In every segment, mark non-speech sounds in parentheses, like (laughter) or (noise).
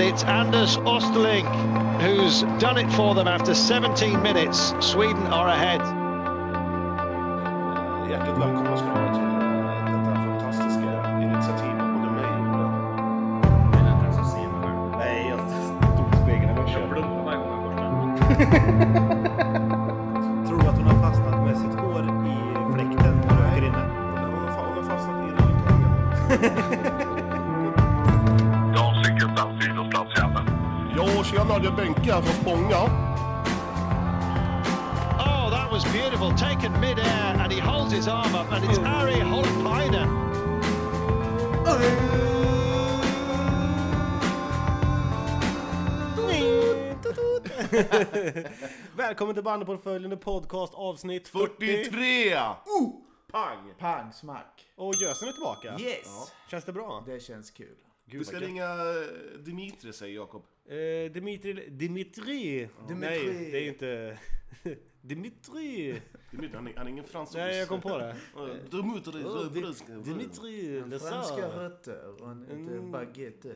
it's Anders Osterling who's done it for them after 17 minutes. Sweden are ahead. Hjärtligt välkomna ska ni vara till detta fantastiska initiativ av både mig och den. Nej, jag stod i spegeln i morse. Tror att hon har fastnat med sitt hår i fläkten på rökgrinden. Hon har- hon har fastnat i rulltåget. Jag har cykelplats, sidoplats, jäveln. Ja, tjena, det är Benke här från Spånga. Oh, that was beautiful. Taken mid-air and he holds his arm up and it's Ari Holpainen. Välkommen till Bandyportföljen, en podcast avsnitt (laughs) 40. 43! Pang! Pang, smack. Och Gösen är tillbaka. Yes. Känns det bra? Det känns kul. Gud, Vi ska vad gött. ringa eh, Dimitri, säger Jakob. Eh, Dimitri... Dimitri. Nej, det är inte... (laughs) Dimitri. Dimitri, han är, han är ingen fransos. Nej, jag kom på (laughs) det. Eh, Dimitri, Oh, Di- Röbrödsk. Dimitri Franska Lessard. rötter och en Mm. mm. baguette.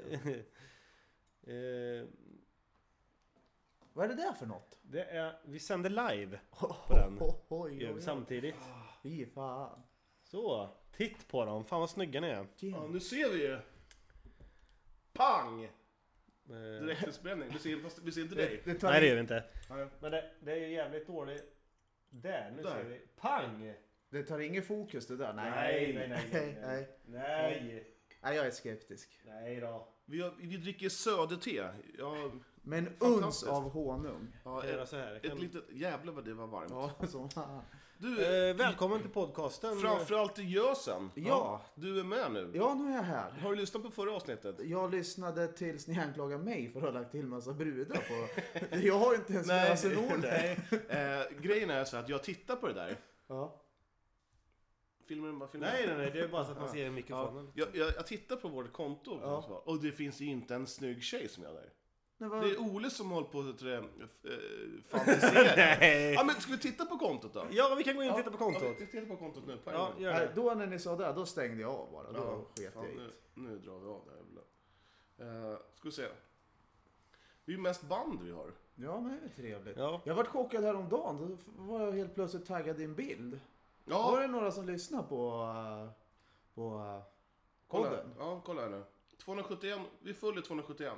Eh, Vad är det där för något? det är... Vi sänder live på den. Ho, ho, Gör vi samtidigt. Fy fan. Så. Titt på dem. Fan vad snygga ni är. Ja, nu ser vi ju. Pang! Eh, Direktinspelning. Vi ser, fast vi ser inte dig. Det, det tar nej, det gör vi inte. Nej. Men det, det är ju jävligt dåligt. Där, nu Där. ser vi. Pang! det tar ingen fokus det där. Nej. Nej, nej, nej, nej, nej. nej. Nej, Nej, jag är skeptisk. nej då. Vi, har, vi dricker söderte. Ja, Men uns Fantastiskt. av honung. ja, Kan göra ett, så här. ett Kan... litet... Jävlar vad det var varmt. Ja, (laughs) som fan. Du, Eh, välkommen till podcasten. framförallt till Gösen. Ja. Du är med nu. Ja, nu är jag här. Har du lyssnat på förra avsnittet? Jag lyssnade tills ni anklagade mig för att ha lagt till massa brudar på. Jag har inte ens Nej, lösenordet. Eh, grejen är så att jag tittar på det där. Ja. Filmer bara filmer. Nej, nej, nej. Det är bara så att man ser i Ja, mikrofonen. jag, jag, jag tittar på vårt konto Ja. och det finns ju inte en snygg tjej som jag där. Men Det vad, är Ole som håller på att äh, fantisera. (laughs) Nej. ja, men ska vi titta på kontot då? Ja, vi kan gå in och titta på Ja, kontot. vi tittar på kontot nu. Pang. Ja, gör Nej, det. då när ni sa det, då stängde jag av bara. Då Ja, sket fan, jag i nu, det. nu drar vi av det här jävla. Eh, ska vi se. Det är ju mest band vi har. Ja, men det är väl trevligt. Ja. Jag vart chockad häromdagen. Då f- var jag helt plötsligt taggad i en bild. Var Ja, det några som lyssnade på, eh, på eh, kolla, podden? ja, kolla här nu. 271, vi följer 271.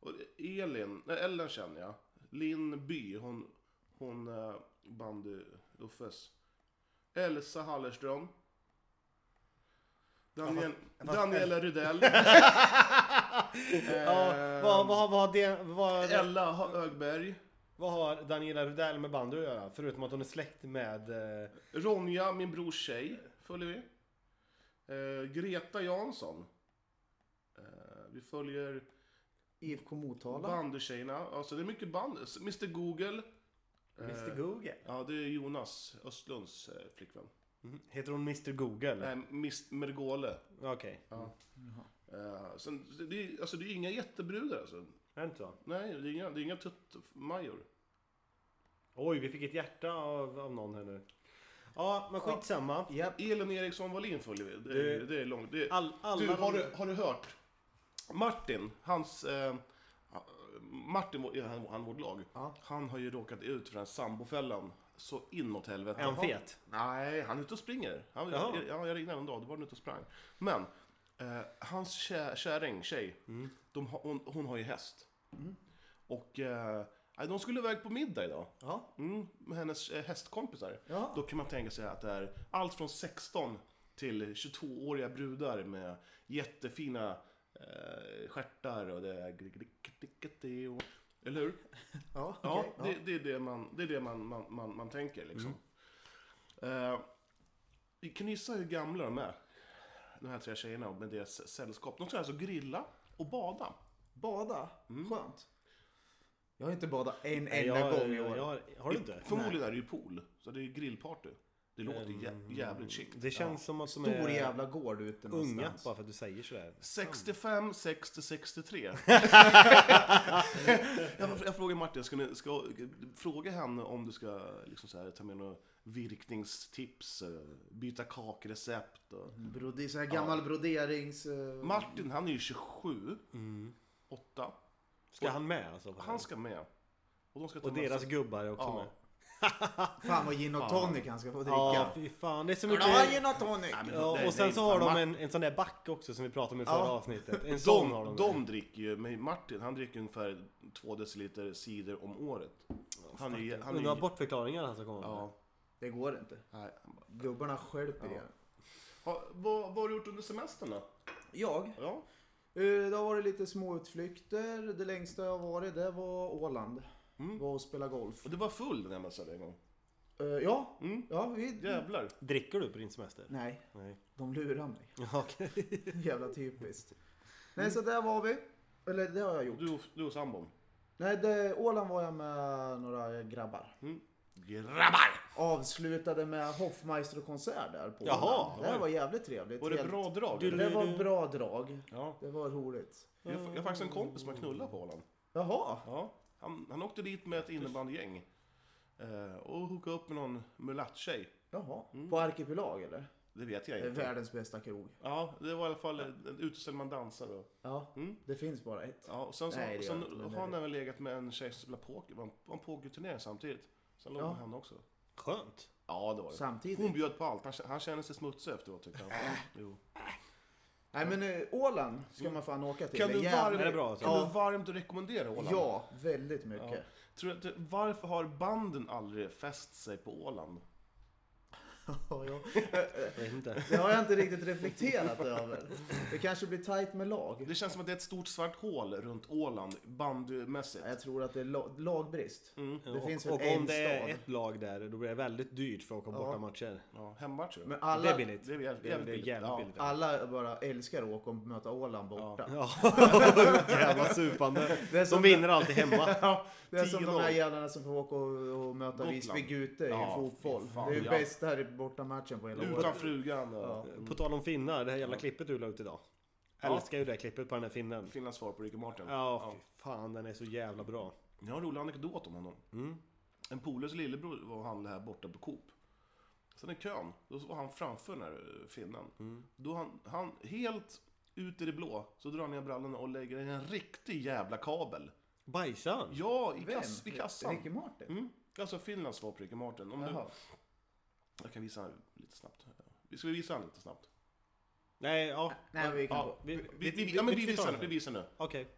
Och Elin, nej Ellen känner jag. Linn By, hon, hon eh, bandy Uffes. Elsa Hallerström. Daniel, (laughs) Daniela Rydell. Eh, Ehm. Ja, vad, vad, har- vad, har det, vad, Ella Högberg. vad har Daniela Rudell med bandy att göra? Förutom att hon är släkt med... Eh, Ronja, min brors tjej, följer vi. Eh, Greta Jansson. Eh, vi följer IFK Motala? Bandytjejerna. Alltså det är mycket band. Mr Google. Eh. Mr Google. Ja, det är Jonas Östlunds eh, flickvän. Mhm. Heter hon Mr Google? Nej, Miss Mergole. Okej. Eh, sen, det, är, alltså, det är inga jättebrudar alltså. Är det inte så? Nej, det är inga, det är inga tuttmajor. Oj, vi fick ett hjärta av, av någon här nu. Ja, men skitsamma. Japp. Elin Eriksson Wallin följer vi. Det, är- Du- det är långt. Det, är- All, alla du, har de- du, har du hört? Martin, hans... Eh, Martin, vår- han, han vårt lag. Ja. Han har ju råkat ut för den här sambofällan. Så inåt helvete. Är han fet? Nej, han är ute och springer. Han, Jaha. jag, jag, jag ringde en dag, då var han ute och sprang. Men, eh, hans kä- kärring, tjej, de, har- hon, hon har ju häst. Och eh, nej, de skulle iväg på middag idag. Ja. Mm, med hennes eh, hästkompisar. Ja. Då kan man tänka sig att det är allt från 16 till 22-åriga brudar med jättefina eh, stjärtar och det är... gri- gri- gri- gri- och- Eller hur? Ja, Ja, okej. det, det är det man, det är det man, man, man, man tänker liksom. Eh, vi kan gissa hur gamla de är? De här tre tjejerna och med deras sällskap. De ska alltså grilla och bada. Bada? Skönt. Jag har inte badat en Nej, enda gång i år. jag har- har du inte? Mm. Förmodligen är det ju pool, så det är grillparty. Det låter jä- jävligt chict. Det känns som att de Stor är jävla gård ute unga någonstans. bara för att du säger sådär. 65, (laughs) 60, 63. jag, jag frågar Martin, ska ni, ska, fråga henne om du ska liksom så här, ta med några virkningstips, eh, byta kakrecept. Och... Mm. Brode, så här gammal broderings... eh, Martin, han är ju 27, Mm. 8. Ska han med alltså? Han ska med. Och, de ska ta Och deras gubbar är också Ja. med. Fan vad gin och tonic han ska få dricka. Ja, Ja, fy fan. Det är så Vill du mycket... ha gin och tonic? Ja, och sen så har de en, en sån där backe också som vi pratade om i förra Ja. avsnittet. (laughs) En sån har De, de. de dricker ju, men Martin han dricker ungefär 2 deciliter cider om året. Han är, ju- han är, Undrar ju- bortförklaringar han ska komma med. ja, Det går inte. nej, han bara- Gubbarna stjälper ja. Ja, vad, vad har du gjort under semestern då? Jag? Ja. Eh, Det har varit lite små utflykter. Det längsta jag har varit det var Åland. Mm. Var och spela golf. Och det var full den här mössan en gång. Eh, Ja, Mm. ja vi... Jävlar. Dricker du på din (laughs) semester? Nej, Nej. de lurar mig. Okej. Jävla typiskt. Nej, så där var vi. Eller det har jag gjort. Du, och- du och sambon. Nej, det, Åland var jag med några grabbar. Grabbar! Avslutade med Hoffmeister-konsert där på Jaha, Åland. Det här var jävligt trevligt. Var det Helt- bra Mm. drag? Du- eller? Det var bra drag. Ja. Det var roligt. Jag, jag har faktiskt en kompis som har knullat på Åland. Jaha, Ja. Han, han åkte dit med ett innebandygäng. Eh, och hookade upp med någon mulatt-tjej. jaha. På Arkipelag eller? Det vet jag Det är Mm. inte. världens bästa krog. Ja, det var i alla fall ett uteställe man dansar och... Ja, Mm. det finns bara ett. Ja, och sen så, Nej, det gör sen jag inte, men har han det- även legat med en tjej som spelar poker. Var en, var en pokerturnering samtidigt. Sen låg Ja. han med henne också. Skönt. Ja, det var det. Samtidigt. Hon bjöd på allt. Han, han kände sig smutsig efteråt tyckte han. Jo. Nej men eh, Åland ska man fan åka till. Kan Det är du, jävligt- varmt, är det bra, alltså? kan Ja. du varmt rekommendera Åland? Ja, väldigt mycket. Ja. Tror du, att det- varför har banden aldrig fäst sig på Åland? Ja, ja. Jag vet inte. Det har jag inte riktigt reflekterat över. Det kanske blir tajt med lag. Det känns som att det är ett stort svart hål runt Åland bandymässigt. Jag tror att det är la- lagbrist. Det finns väl Mm. och en om det är stad. ett lag där, då blir det väldigt dyrt för att åka borta matcher. Ja, hemmatcher. Men Det alla, är billigt. det är jävligt det är billigt. jävligt Ja. billigt. alla bara älskar att åka och möta Åland borta. Ja, (laughs) jävla supande. Det är som- De (laughs) vinner alltid hemma. Det är som de här 10-0. jävlarna som får åka och, och möta Gotland. Visby Gute i Ja, fotboll. fy fan, det är ju ja. bästa här borta matchen på hela Utan året. frugan och Ja. På tal om finnar, det här jävla klippet du la ut idag. Ja. Älskar ju det här klippet på den här finnen. Finlands svar på Ricky Martin. Ja, fy fan den är så jävla bra. Jag har en rolig anekdot om honom. Mm. En polares lillebror var och handlade här borta på Coop. Sen i kön, då var han framför den här eh, finnen. Mm. Då han, han, helt ut i det blå, så drar han ner brallorna och lägger in en riktig jävla kabel. Bajsan? Ja, i, Vem? kass, i kassan. Ricky Martin? Mm. Alltså Finlands svar på Ricky Martin. Om du, Jaha. jag kan visa han lite snabbt. Vi ska vi visa han lite snabbt? Nej, ja. Nej, vi kan Ja, gå. vi, vi- vi, vi- vi, ja, men vi- vi vi tar visar nu. den. Vi visar nu. Okej.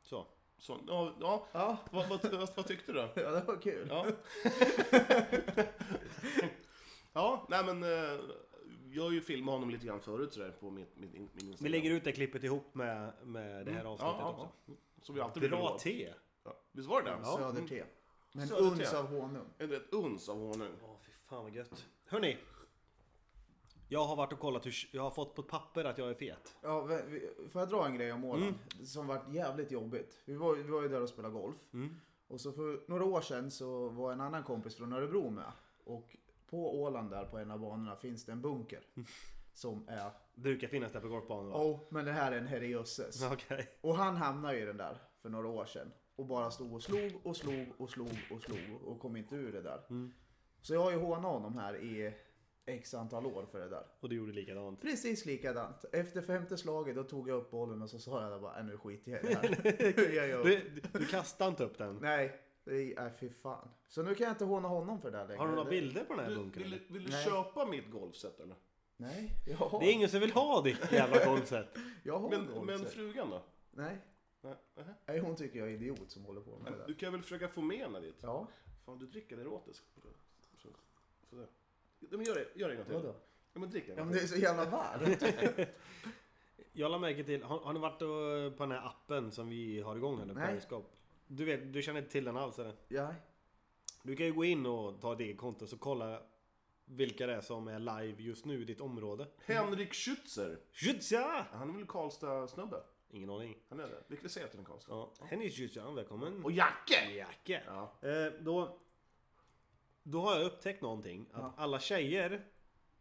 Så. Så, ja, ja. Ja, (laughs) Vad, vad, vad, vad tyckte du? ja, det var kul. Ja. ja, nej men eh, jag har ju filmat honom lite grann förut sådär på mitt, mitt, min Instagram. Vi lägger ut det klippet ihop med, med det här avsnittet ja, också. ja, ja. Som vi alltid brukar Bra lova. te! Ja. Visst var det det? Söderte. Men Söderte. uns av honung. Mm. Ett uns av honung. Åh, fy fan vad gött. Hörni. Jag har varit och kollat hur... Jag har fått på ett papper att jag är fet. Ja, v- vi- får jag dra en grej om Åland? Som vart jävligt jobbigt. Vi var, vi var ju där och spelade golf. Och så för några år sedan så var en annan kompis från Örebro med. Och på Åland där på en av banorna finns det en bunker. Som är... Brukar finnas där på golfbanor va? Åh, Mm. oh, men det här är en herrejösses. (laughs) Okej. Och han hamnade i den där för några år sedan. Och bara stod och slog och slog och slog och slog och kom inte ur det där. Så jag har ju hånat honom här i x antal år för det där. Och du gjorde likadant. Precis likadant. Efter femte slaget då tog jag upp bollen och så sa jag bara, "Äh, nu skiter jag i det (laughs) här. (laughs) jag gör. Du, du kastade inte upp den. Nej, det är, äh, fy fan. Så nu kan jag inte håna honom för det där längre. Har du några Det- bilder på den här Du, bunkern? vill, eller? du- vill du Nej. köpa mitt golfset eller? Nej, jag har, Det är ingen som vill ha ditt jävla golfset. jag har Men, golf, men så- frugan då? Nej. Nej, nähä. Nej, hon tycker jag är idiot som håller på med det där. Du kan väl försöka få med henne dit? Ja, Fan, du dricker erotiskt. Så- sådär. Ja, Men gör det, gör det en gång till. vadå? Ja, men drick en Ja, gång men det är till. så jävla varmt. (laughs) Jag la märke till, har, har ni varit och, på den här appen som vi har igång här nu? Nej. Periscope? Du, vet, du känner inte till den alls eller? Ja. Du kan ju gå in och ta ett eget konto så kolla vilka det är som är live just nu i ditt område. Henrik Schützer. Jutsa! Han är väl Karlstad-snubbe? Ingen aning. Han är det. Vilket säger jag till en Karlstad. Ja. Henrik Kyrkjan, välkommen. Och Jacke! Jacke. Ja. Eh, då, då har jag upptäckt någonting. Att Ja. alla tjejer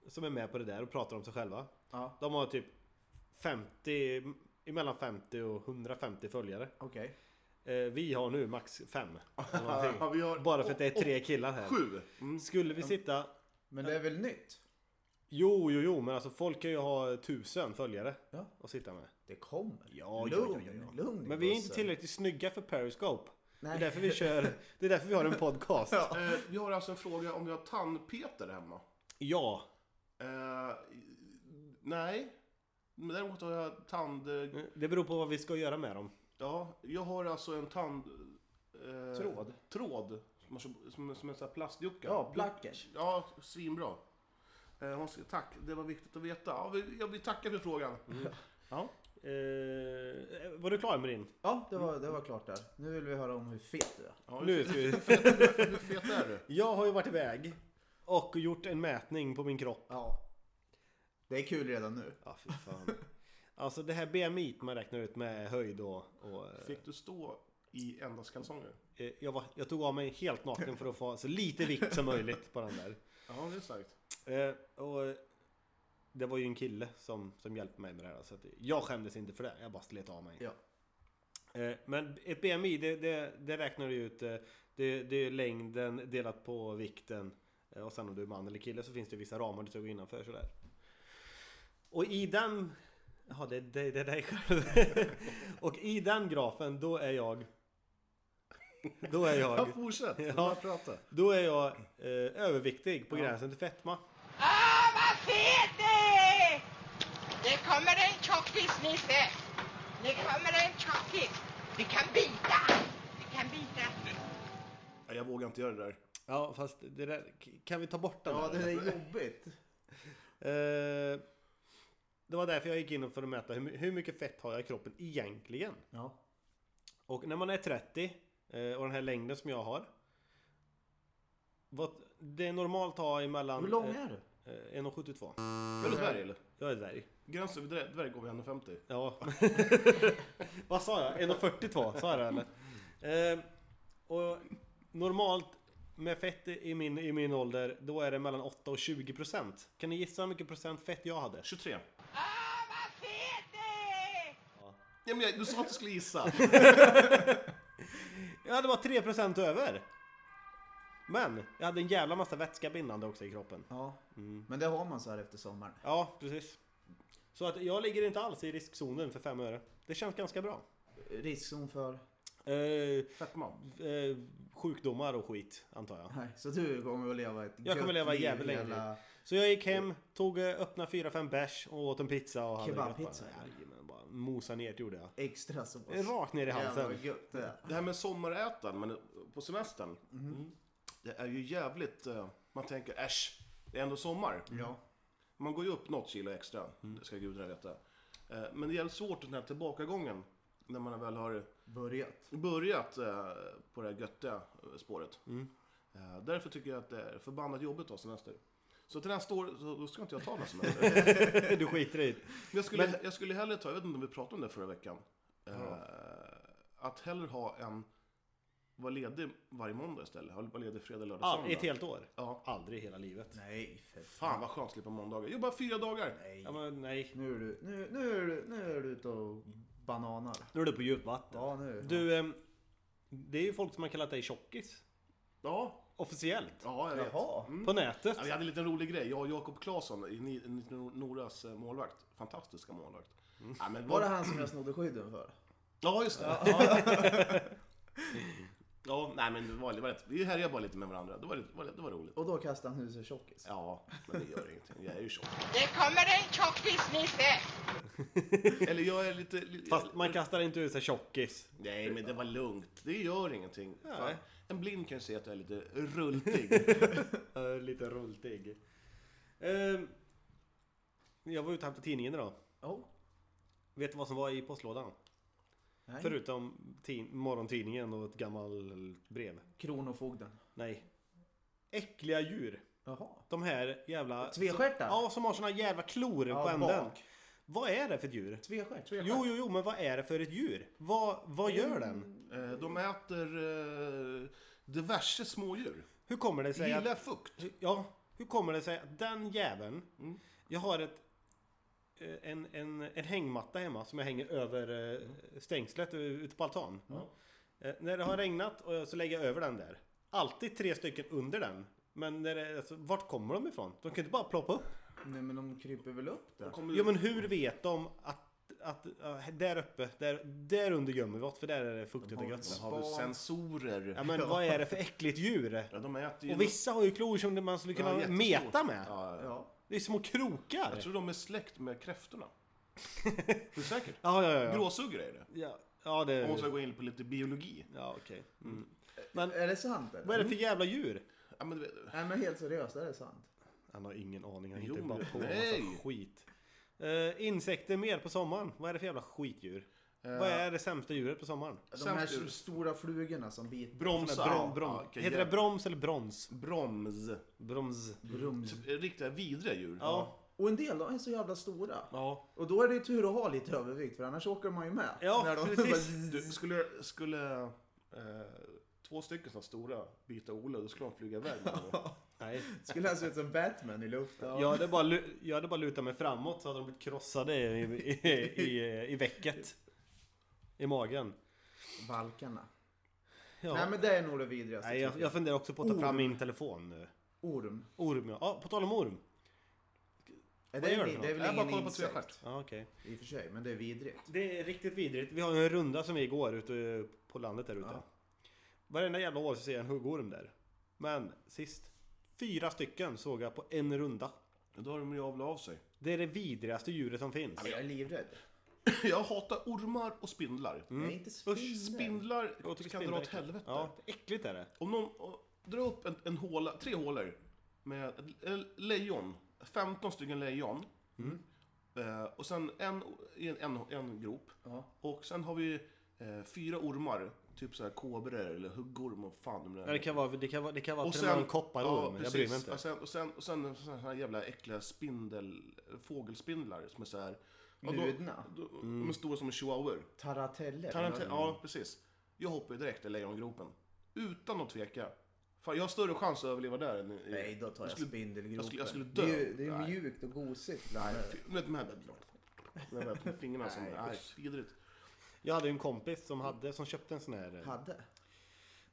som är med på det där och pratar om sig själva. Ja. De har typ 50, emellan 50 och 150 följare. Okej. Eh, vi har nu max 5. Ja, vi har Bara för att det är tre killar här. Mm. sju. Skulle vi sitta... Men det är väl nytt? Jo, jo, jo, men alltså folk kan ju ha tusen följare Ja. att sitta med. Det kommer. Ja, ja, lugn, ja, ja, lugn. Men vi är inte gosse. tillräckligt snygga för Periscope. Det är Nej. därför vi kör... Det är därför vi har en podcast. Ja. Eh, vi har alltså en fråga om vi har tandpeter hemma. Eh, nej. Men däremot har jag tand... eh, Det beror på vad vi ska göra med dem. Ja, jag har alltså en tand... eh, Tråd. Tråd. Som, har- som, som en sån här plastjucka. Ja, plackers. Ja, svinbra. Eh, hon skrev, tack, det var viktigt att veta. Ja, vi, ja, vi tackar för frågan. Ja. Eh, var du klar med din? Ja, det var, det var klart där. Nu vill vi höra om hur fet du är. Ja, Nu ska vi... Hur fet är du? (laughs) Jag har ju varit iväg och gjort en mätning på min kropp. Ja. Det är kul redan nu. Ja, fy fan. Alltså det här BMI t man räknar ut med höjd och... och eh, Fick du stå i endast kalsonger? eh, jag, var, jag tog av mig helt naken för att få så lite vikt som möjligt på den där. Ja, det är starkt. Eh, och eh, det var ju en kille som, som hjälpte mig med det här. Så att jag skämdes inte för det. Jag bara slet av mig. Ja. Eh, men ett BMI, det, det, det räknar du ut. eh, Det, det är längden delat på vikten. Eh, Och sen om du är man eller kille så finns det vissa ramar du ska gå innanför sådär. Och i den... Ja, det, det, det där är själv. (laughs) och i den grafen, då är jag... Då är jag... Ja, fortsätt. Ja. Ja. Prata. Då är jag eh, överviktig på gränsen till fetma. Ah, vad fet det är! Det kommer en tjockis, Nisse. Det kommer en tjockis. Vi kan bita. Vi kan bita. Ja, jag vågar inte göra det där. Ja, fast det där... Kan vi ta bort den Ja, där? det är jobbigt. Eh, det var därför jag gick in för att mäta hur, my- hur mycket fett har jag i kroppen egentligen? Ja. Och när man är 30 eh, och den här längden som jag har. Vad, det är normalt att ha emellan... Hur lång är du? Eh, 1,72. Är du dvärg eller? Jag är dvärg. Gränsen vid dvärg- dvärg går vid 1,50. Ja. (laughs) Vad sa jag? 1,42 sa jag det eller? Eh, och normalt med fett i min, i min ålder, då är det mellan 8 och 20 procent. Kan ni gissa hur mycket procent fett jag hade? 23. Ah, vad fet det är! Ja, men jag, du sa att du skulle gissa. Ja, det var 3 procent över. Men jag hade en jävla massa vätska bindande också i kroppen. Ja. Men det har man så här efter sommaren. Ja, precis. Så att jag ligger inte alls i riskzonen för fem öre. Det känns ganska bra. Riskzon för... Eh, Fetma. eh, sjukdomar och skit, antar jag. Nej, så du kommer att leva ett Jag kommer gött leva liv jävligt länge hela- Så jag gick hem, tog eh, öppna 4-5 bärs och åt en pizza och hade Kebabpizza, gött. eller? Jajamän, bara mosa ner det gjorde jag. Extra sås. Rakt ner i Jävlar halsen. vad gött det är. Det här med sommarätan men på semestern. Mm. Det är ju jävligt... eh, Man tänker äsch, det är ändå sommar. Ja. Man går ju upp något kilo extra, det ska gudarna veta. Eh, Men det är jävligt svårt den här tillbakagången. När man väl har Börjat. börjat eh, på det här göttiga eh, spåret. Eh, Därför tycker jag att det är förbannat jobbigt att ha semester. Så till nästa år så då ska inte jag ta någon semester. (laughs) Men du skiter i det. jag, skulle, Men- jag skulle hellre ta, jag vet inte om vi pratade om det förra veckan. eh, Att hellre ha en, vara ledig varje måndag istället. Vara ledig fredag, lördag, Ja, söndag. i ett helt år? Ja. Aldrig i hela livet. Nej, för fan. Fan vad skönt att slippa måndagar. Jag bara fyra dagar. Nej. Ja, men nej. Nu är du, nu, nu är du, nu är du ute och bananar. Nu är du på djupt vatten. Ja, nu. Du, ehm, det är ju folk som har kallat dig tjockis. Ja, Officiellt. ja jag vet. Jaha. På nätet. Ja, vi hade en liten rolig grej. Jag och Jakob Claesson, i Ni- Ni- Noras eh, målvakt. Fantastiska målvakt. Mm. Ja, men Var det han som jag snodde skydden för? Ja, just det. Ja, (laughs) ja nej men det var, det var rätt. Vi härjade bara lite med varandra. Det var, det var, det var roligt. Och då kastade han huset tjockis. Ja, men det gör ingenting. Jag är ju tjock. Det kommer en tjockis, Nisse. Eller jag är lite... li- Fast man kastar inte ut sig tjockis. Nej, men det var lugnt. Det gör ingenting. Fan. Nej. En blind kan ju se att jag är lite rultig. (laughs) lite rultig. Ehm, jag var ute och hämtade tidningen idag. Oh. Vet du vad som var i postlådan? Nej. Förutom ti- morgontidningen och ett gammalt brev. Kronofogden. Nej. Äckliga djur. Jaha. De här jävla... Tvestjärtar? Ja, som har såna jävla klor på Ja, änden. bak. Vad är det för ett djur? Tvestjärt. Jo, jo, jo, men vad är det för ett djur? Vad, vad gör den? Eh, De äter eh, diverse smådjur. Hur kommer det sig Gillar att... fukt. Ja, hur kommer det sig att den jäveln... Jag har ett... eh, En, en, en hängmatta hemma som jag hänger över eh, stängslet ute på altan. Eh, När det har regnat och jag- så lägger jag över den där. Alltid tre stycken under den. Men när det, alltså, vart kommer de ifrån? De kan inte bara ploppa upp. Nej men de kryper väl upp där? Kommer- Ja men hur vet de att, att, äh, där uppe, där, där under gömmer vi oss för där är det fuktigt och gött. De har väl Span. sensorer. Ja men vad är det för äckligt djur? Ja, de äter ju... Och vissa har ju klor som man skulle Ja, kunna jättesmå. meta med. Ja, ja, ja. Ja. Det är små krokar. Jag tror de är släkt med kräftorna. (laughs) Är du säker? Ja, ja, ja. ja. Gråsuggor är det. Ja, ja det Man måste är... gå in på lite biologi. Ja, okej. Mm. Är det sant eller? Mm. Vad är det för jävla djur? Ja, men, du Mm. vet- Nej men helt seriöst, är det sant? Han har ingen aning, han Jo, hittar bara men- på en nej. massa skit. Eh, insekter mer på sommaren. Vad är det för jävla skitdjur? Eh. Vad är det sämsta djuret på sommaren? De Samt här ur- stora flugorna som biter. bromsa. Brom, brom. Ja, okej, Heter ja. det broms eller brons? Broms. Broms. Brums. Riktiga vidriga djur. Ja. Och en del de är så jävla stora. Ja. Och då är det ju tur att ha lite övervikt för annars åker man ju med. Ja, När precis. Du, skulle skulle eh, två stycken sådana stora byta Ola, då skulle de flyga iväg. (laughs) med dem. Nej. (laughs) Skulle han se ut som Batman i luften? Jag hade, bara, lu- jag hade bara lutat mig framåt så hade de blivit krossade i, i, i, i väcket. I magen. Valkarna. Ja. Nej men det är nog det vidrigaste. Nej, jag, tror jag. jag funderar också på att ta fram Orm. min telefon nu. Orm. Orm ja. ja. På tal om orm. Är Vad det, gör det det, för det är något? väl Jag bara ingen kollar på insekt tvestjärt. Ja, okej. i och för sig, men det är vidrigt. Det är riktigt vidrigt. Vi har en runda som vi går ute på landet där ute. Varenda jävla år så ser jag en huggorm där. Men sist, fyra stycken såg jag på en runda. Då har de ju avlat av sig. Det är det vidrigaste djuret som finns. Jag är livrädd. (clears throat) Jag hatar ormar och spindlar. Mm. Jag är inte Usch, spindel. spindlar Jag tycker kan spindlar dra är åt äckligt. helvete. Ja, äckligt är det. Om någon och, drar upp en, en håla, tre hålor med ett lejon, 15 stycken lejon. Eh, och sen en, en, en, en grop. Ja. Och sen har vi eh, fyra ormar, typ så här kobror eller huggorm och fan de där. Ja, det kan vara, det kan vara, det kan vara till och med en kopparorm. jag bryr mig inte. Och sen, och sen, och sen såna här jävla äckliga spindel, fågelspindlar som är så här. ja, de- Ludna. de- De är stora som chihuahuor. Tarateller. Tarantella, ja precis. Jag hoppar ju direkt i lejongropen. Utan att tveka. Fan, jag har större chans att överleva där än i... Nej, då tar jag, skulle- spindelgropen. jag skulle- jag skulle Det är ju, dö. det är ju Nej. mjukt och gosigt. bland det. Du vet de här... De här med fingrarna som... Nej, vidrigt. Jag hade ju en kompis som hade, som köpte en sån här, eh, Hade.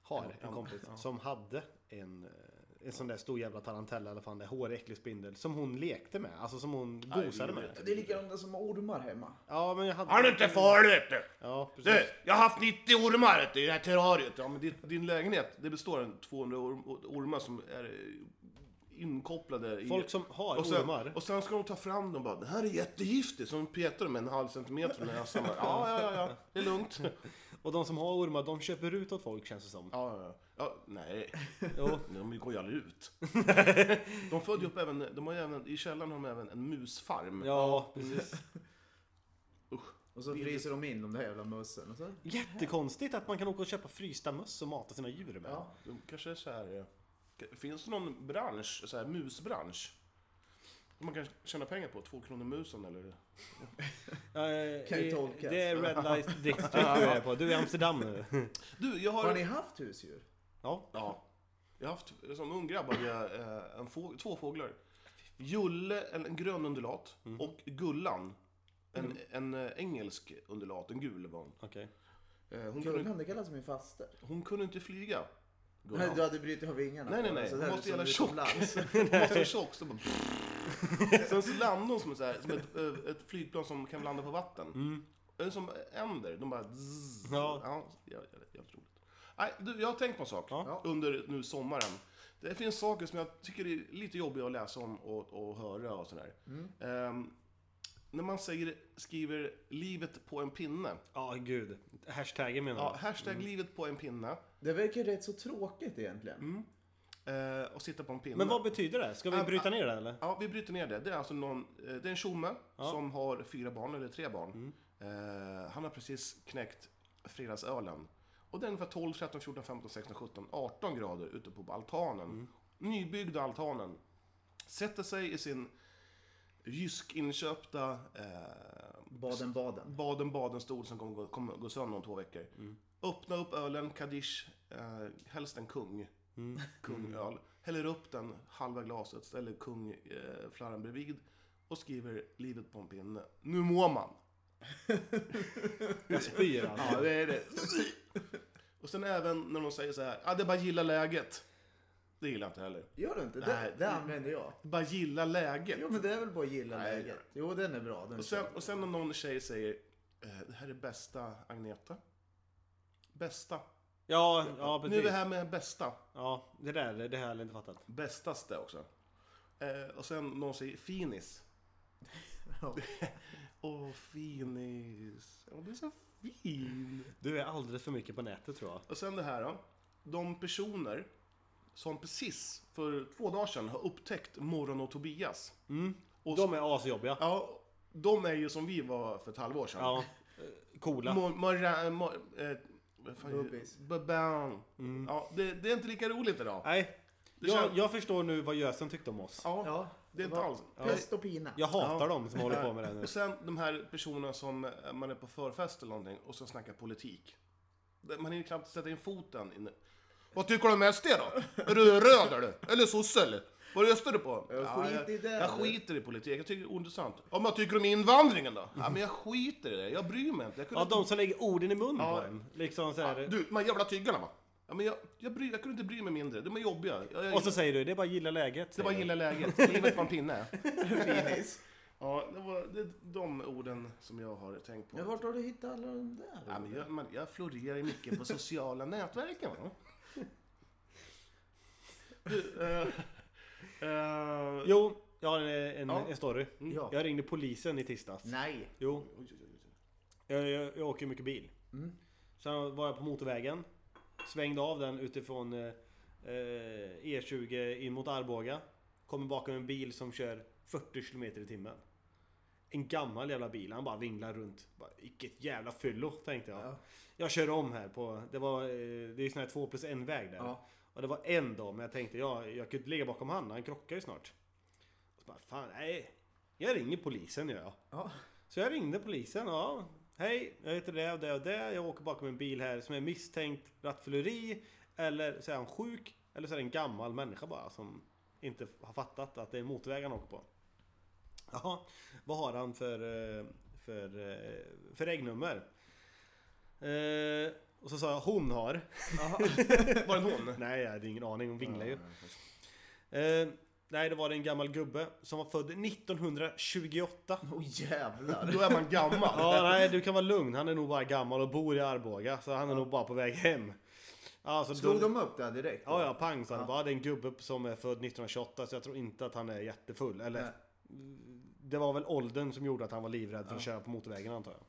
har en kompis, som hade en, eh, en sån där stor jävla tarantella eller fan det är, hårig äcklig spindel som hon lekte med, alltså som hon gosade det är med. Det är likadant som ormar hemma. Ja men jag hade... Han är inte farlig vet du! Ja precis. Du, jag har haft 90 ormar vet du, i det här terrariet. Ja, men din, din lägenhet, det består av 200 orm, ormar som är eh, inkopplade i... Folk som har och sen, ormar. Och sen ska de ta fram dem och bara, det här är jättegiftigt. Så de petar dem en halv centimeter från (laughs) näsan. Bara, Ja, ja, ja, ja, det är lugnt. Ja, Och de som har ormar de köper ut åt folk känns det som. ja, ja. ja nej. Jo. De går ju aldrig (laughs) ut. De födde ju upp även, de har ju även, i källaren har de även en musfarm. Ja precis. Och så fryser de in de där jävla mössen. Och så. Jättekonstigt att man kan åka och köpa frysta möss och mata sina djur med. Ja, de kanske är så här. eh, Finns det någon bransch, så här musbransch? Som Man kan tjäna pengar på? Två kronor musen eller? Eh, Kan ju i- tolkas. Det är Red (laughs) Light District du är på. Du är i Amsterdam nu. Du, jag Har har... ni haft husdjur? Ja. Ja. Jag har haft, som ung grabb hade jag eh, en få, två fåglar. Julle, en, en grön undulat, Mm. och Gullan. En, en, eh, engelsk undulat, en gul var hon. Okej. Eh, hon, kunde, Gullan, det kallas min faster. hon kunde inte flyga. Nej, Gullan. du hade brutit av vingarna. Nej, nej, på den, nej. så Hon det här måste är gälla tjock. Måste som liksom utomlands. vara tjock, (laughs) så bara... Sen så landade hon som, så här, som ett, eh, ett flygplan som kan landa på vatten. Eller som änder, de bara... Zzz. Mm. Ja. Ja. ja, ja, det är jävligt roligt. Nej, du, jag har tänkt på en sak Ja. under nu sommaren. Det finns saker som jag tycker är lite jobbiga att läsa om och, och höra och sådär. Mm. Ehm, när man säger, skriver livet på en pinne. Ja gud. Hashtaggen menar Ja, du? hashtag livet på en pinne. Det verkar rätt så tråkigt egentligen. Mm. eh, och sitta på en pinne. Men vad betyder det? Ska vi Ah, bryta ah. ner det eller? Ja, vi bryter ner det. Det är alltså någon, eh, det är en tjomme som har fyra barn, eller tre barn. Eh, han har precis knäckt fredagsölen. Och det är ungefär 12, 13, 14, 15, 16, 17, 18 grader ute på altanen. Nybyggda altanen. Sätter sig i sin Jysk inköpta eh, Baden-Baden. Baden-Baden stol som kommer gå, kommer gå sönder om två veckor. Öppna upp ölen, Kadish, eh, helst en kung. Kungöl. Häller upp den halva glaset, ställer kungflarran eh, flarran bredvid och skriver livet på en pinne. Nu mår man! Jag spyr alltså. Ja, det är det. (laughs) Och sen även när de säger så här, ah, det är bara gilla läget. Det gillar jag inte heller. Gör du inte? Nej. Det, det använder jag. Bara gilla läget. Jo men det är väl bara att gilla Nej. läget. Jo den är bra. Den Och sen, och sen om någon tjej säger eh, Det här är bästa Agneta. Bästa. Ja, ja nu är precis. vi här med bästa. Ja, det där det här har jag inte fattat. Bästaste också. Eh, och sen någon säger finis. Ja. (laughs) Åh, finis. Åh, du är så fin. Du är alldeles för mycket på nätet tror jag. Och sen det här då. De personer som precis för två dagar sedan har upptäckt Morgon och Tobias. Och De är asjobbiga. Ja, de är ju som vi var för ett halvår sedan. Ja. eh, Coola. Mor- Morra... Mor, eh, vad fan- Bubbis. Babam. Mm. Ja, det, det är inte lika roligt idag. Nej. Det känns- Jag, jag förstår nu vad Gösen tyckte om oss. Ja, Ja, det är inte alls. Pest och pina. Jag hatar Ja. dem som håller på med det nu. (laughs) Och sen de här personerna som eh, man är på förfest eller någonting och så snackar politik. Det- Man hinner knappt sätta in foten. In. Vad tycker du om SD då? Är du röd eller? Eller sosse eller? Vad röstar du på? Jag skiter i det. Jag, jag skiter i politik, jag tycker det är ointressant. Ja, men vad tycker du om invandringen då? Ja, men jag skiter i det, jag bryr mig inte. Jag kunde Ja, inte de som lägger orden i munnen Ja. på en. Liksom så här. Du, de här jävla tyggarna va? Ja, men jag, jag, bryr, jag kunde inte bry mig mindre, de är jobbiga. Jag, jag, Och så säger du, det är bara att gilla läget. det säger var du. gilla läget, livet var en pinne. (laughs) Finis. Ja, det var det är de orden som jag har tänkt på. Men vart har du hittat alla de där? Ja, men jag, man, jag florerar ju mycket på sociala (laughs) nätverken va? Du, eh, eh, Jo, jag har en, en, Ja. en story. Ja. Jag ringde polisen i tisdags. Nej. Jo, jag, jag, jag åker ju mycket bil. Mm. Sen var jag på motorvägen. Svängde av den utifrån eh, eh, E20 in mot Arboga. Kommer bakom en bil som kör 40 km i timmen. En gammal jävla bil, han bara vinglar runt. Bara, Vilket jävla fyllo, tänkte jag. Ja. Jag körde om här på, det var, eh, det är ju sån här två plus en väg där. Ja. Och det var en dag, men jag tänkte jag, jag kunde inte ligga bakom han, han krockar ju snart. Och så bara, fan nej. Jag ringer polisen gör jag. Ja. Så jag ringde polisen. Ja, hej, jag heter det och det och det. Jag åker bakom en bil här som är misstänkt rattfylleri. Eller så är han sjuk. Eller så är det en gammal människa bara som inte har fattat att det är motorväg han åker på. Jaha, vad har han för, eh, för, eh, för regnummer? Eh, och så sa jag hon har. var det en hon? Nej, jag hade ingen aning. Hon vinglar ju. Eh, nej, det var det en gammal gubbe som var född 1928. Åh (laughs) jävlar. Då är man gammal. Ja, nej du kan vara lugn. Han är nog bara gammal och bor i Arboga. Så han är nog bara på väg hem. Alltså, Slog då- de upp där direkt? Ja, ja, pang sa han. Bara, det är en gubbe som är född 1928 så jag tror inte att han är jättefull. Eller, Nej. det var väl åldern som gjorde att han var livrädd för att köra på motorvägen antar jag.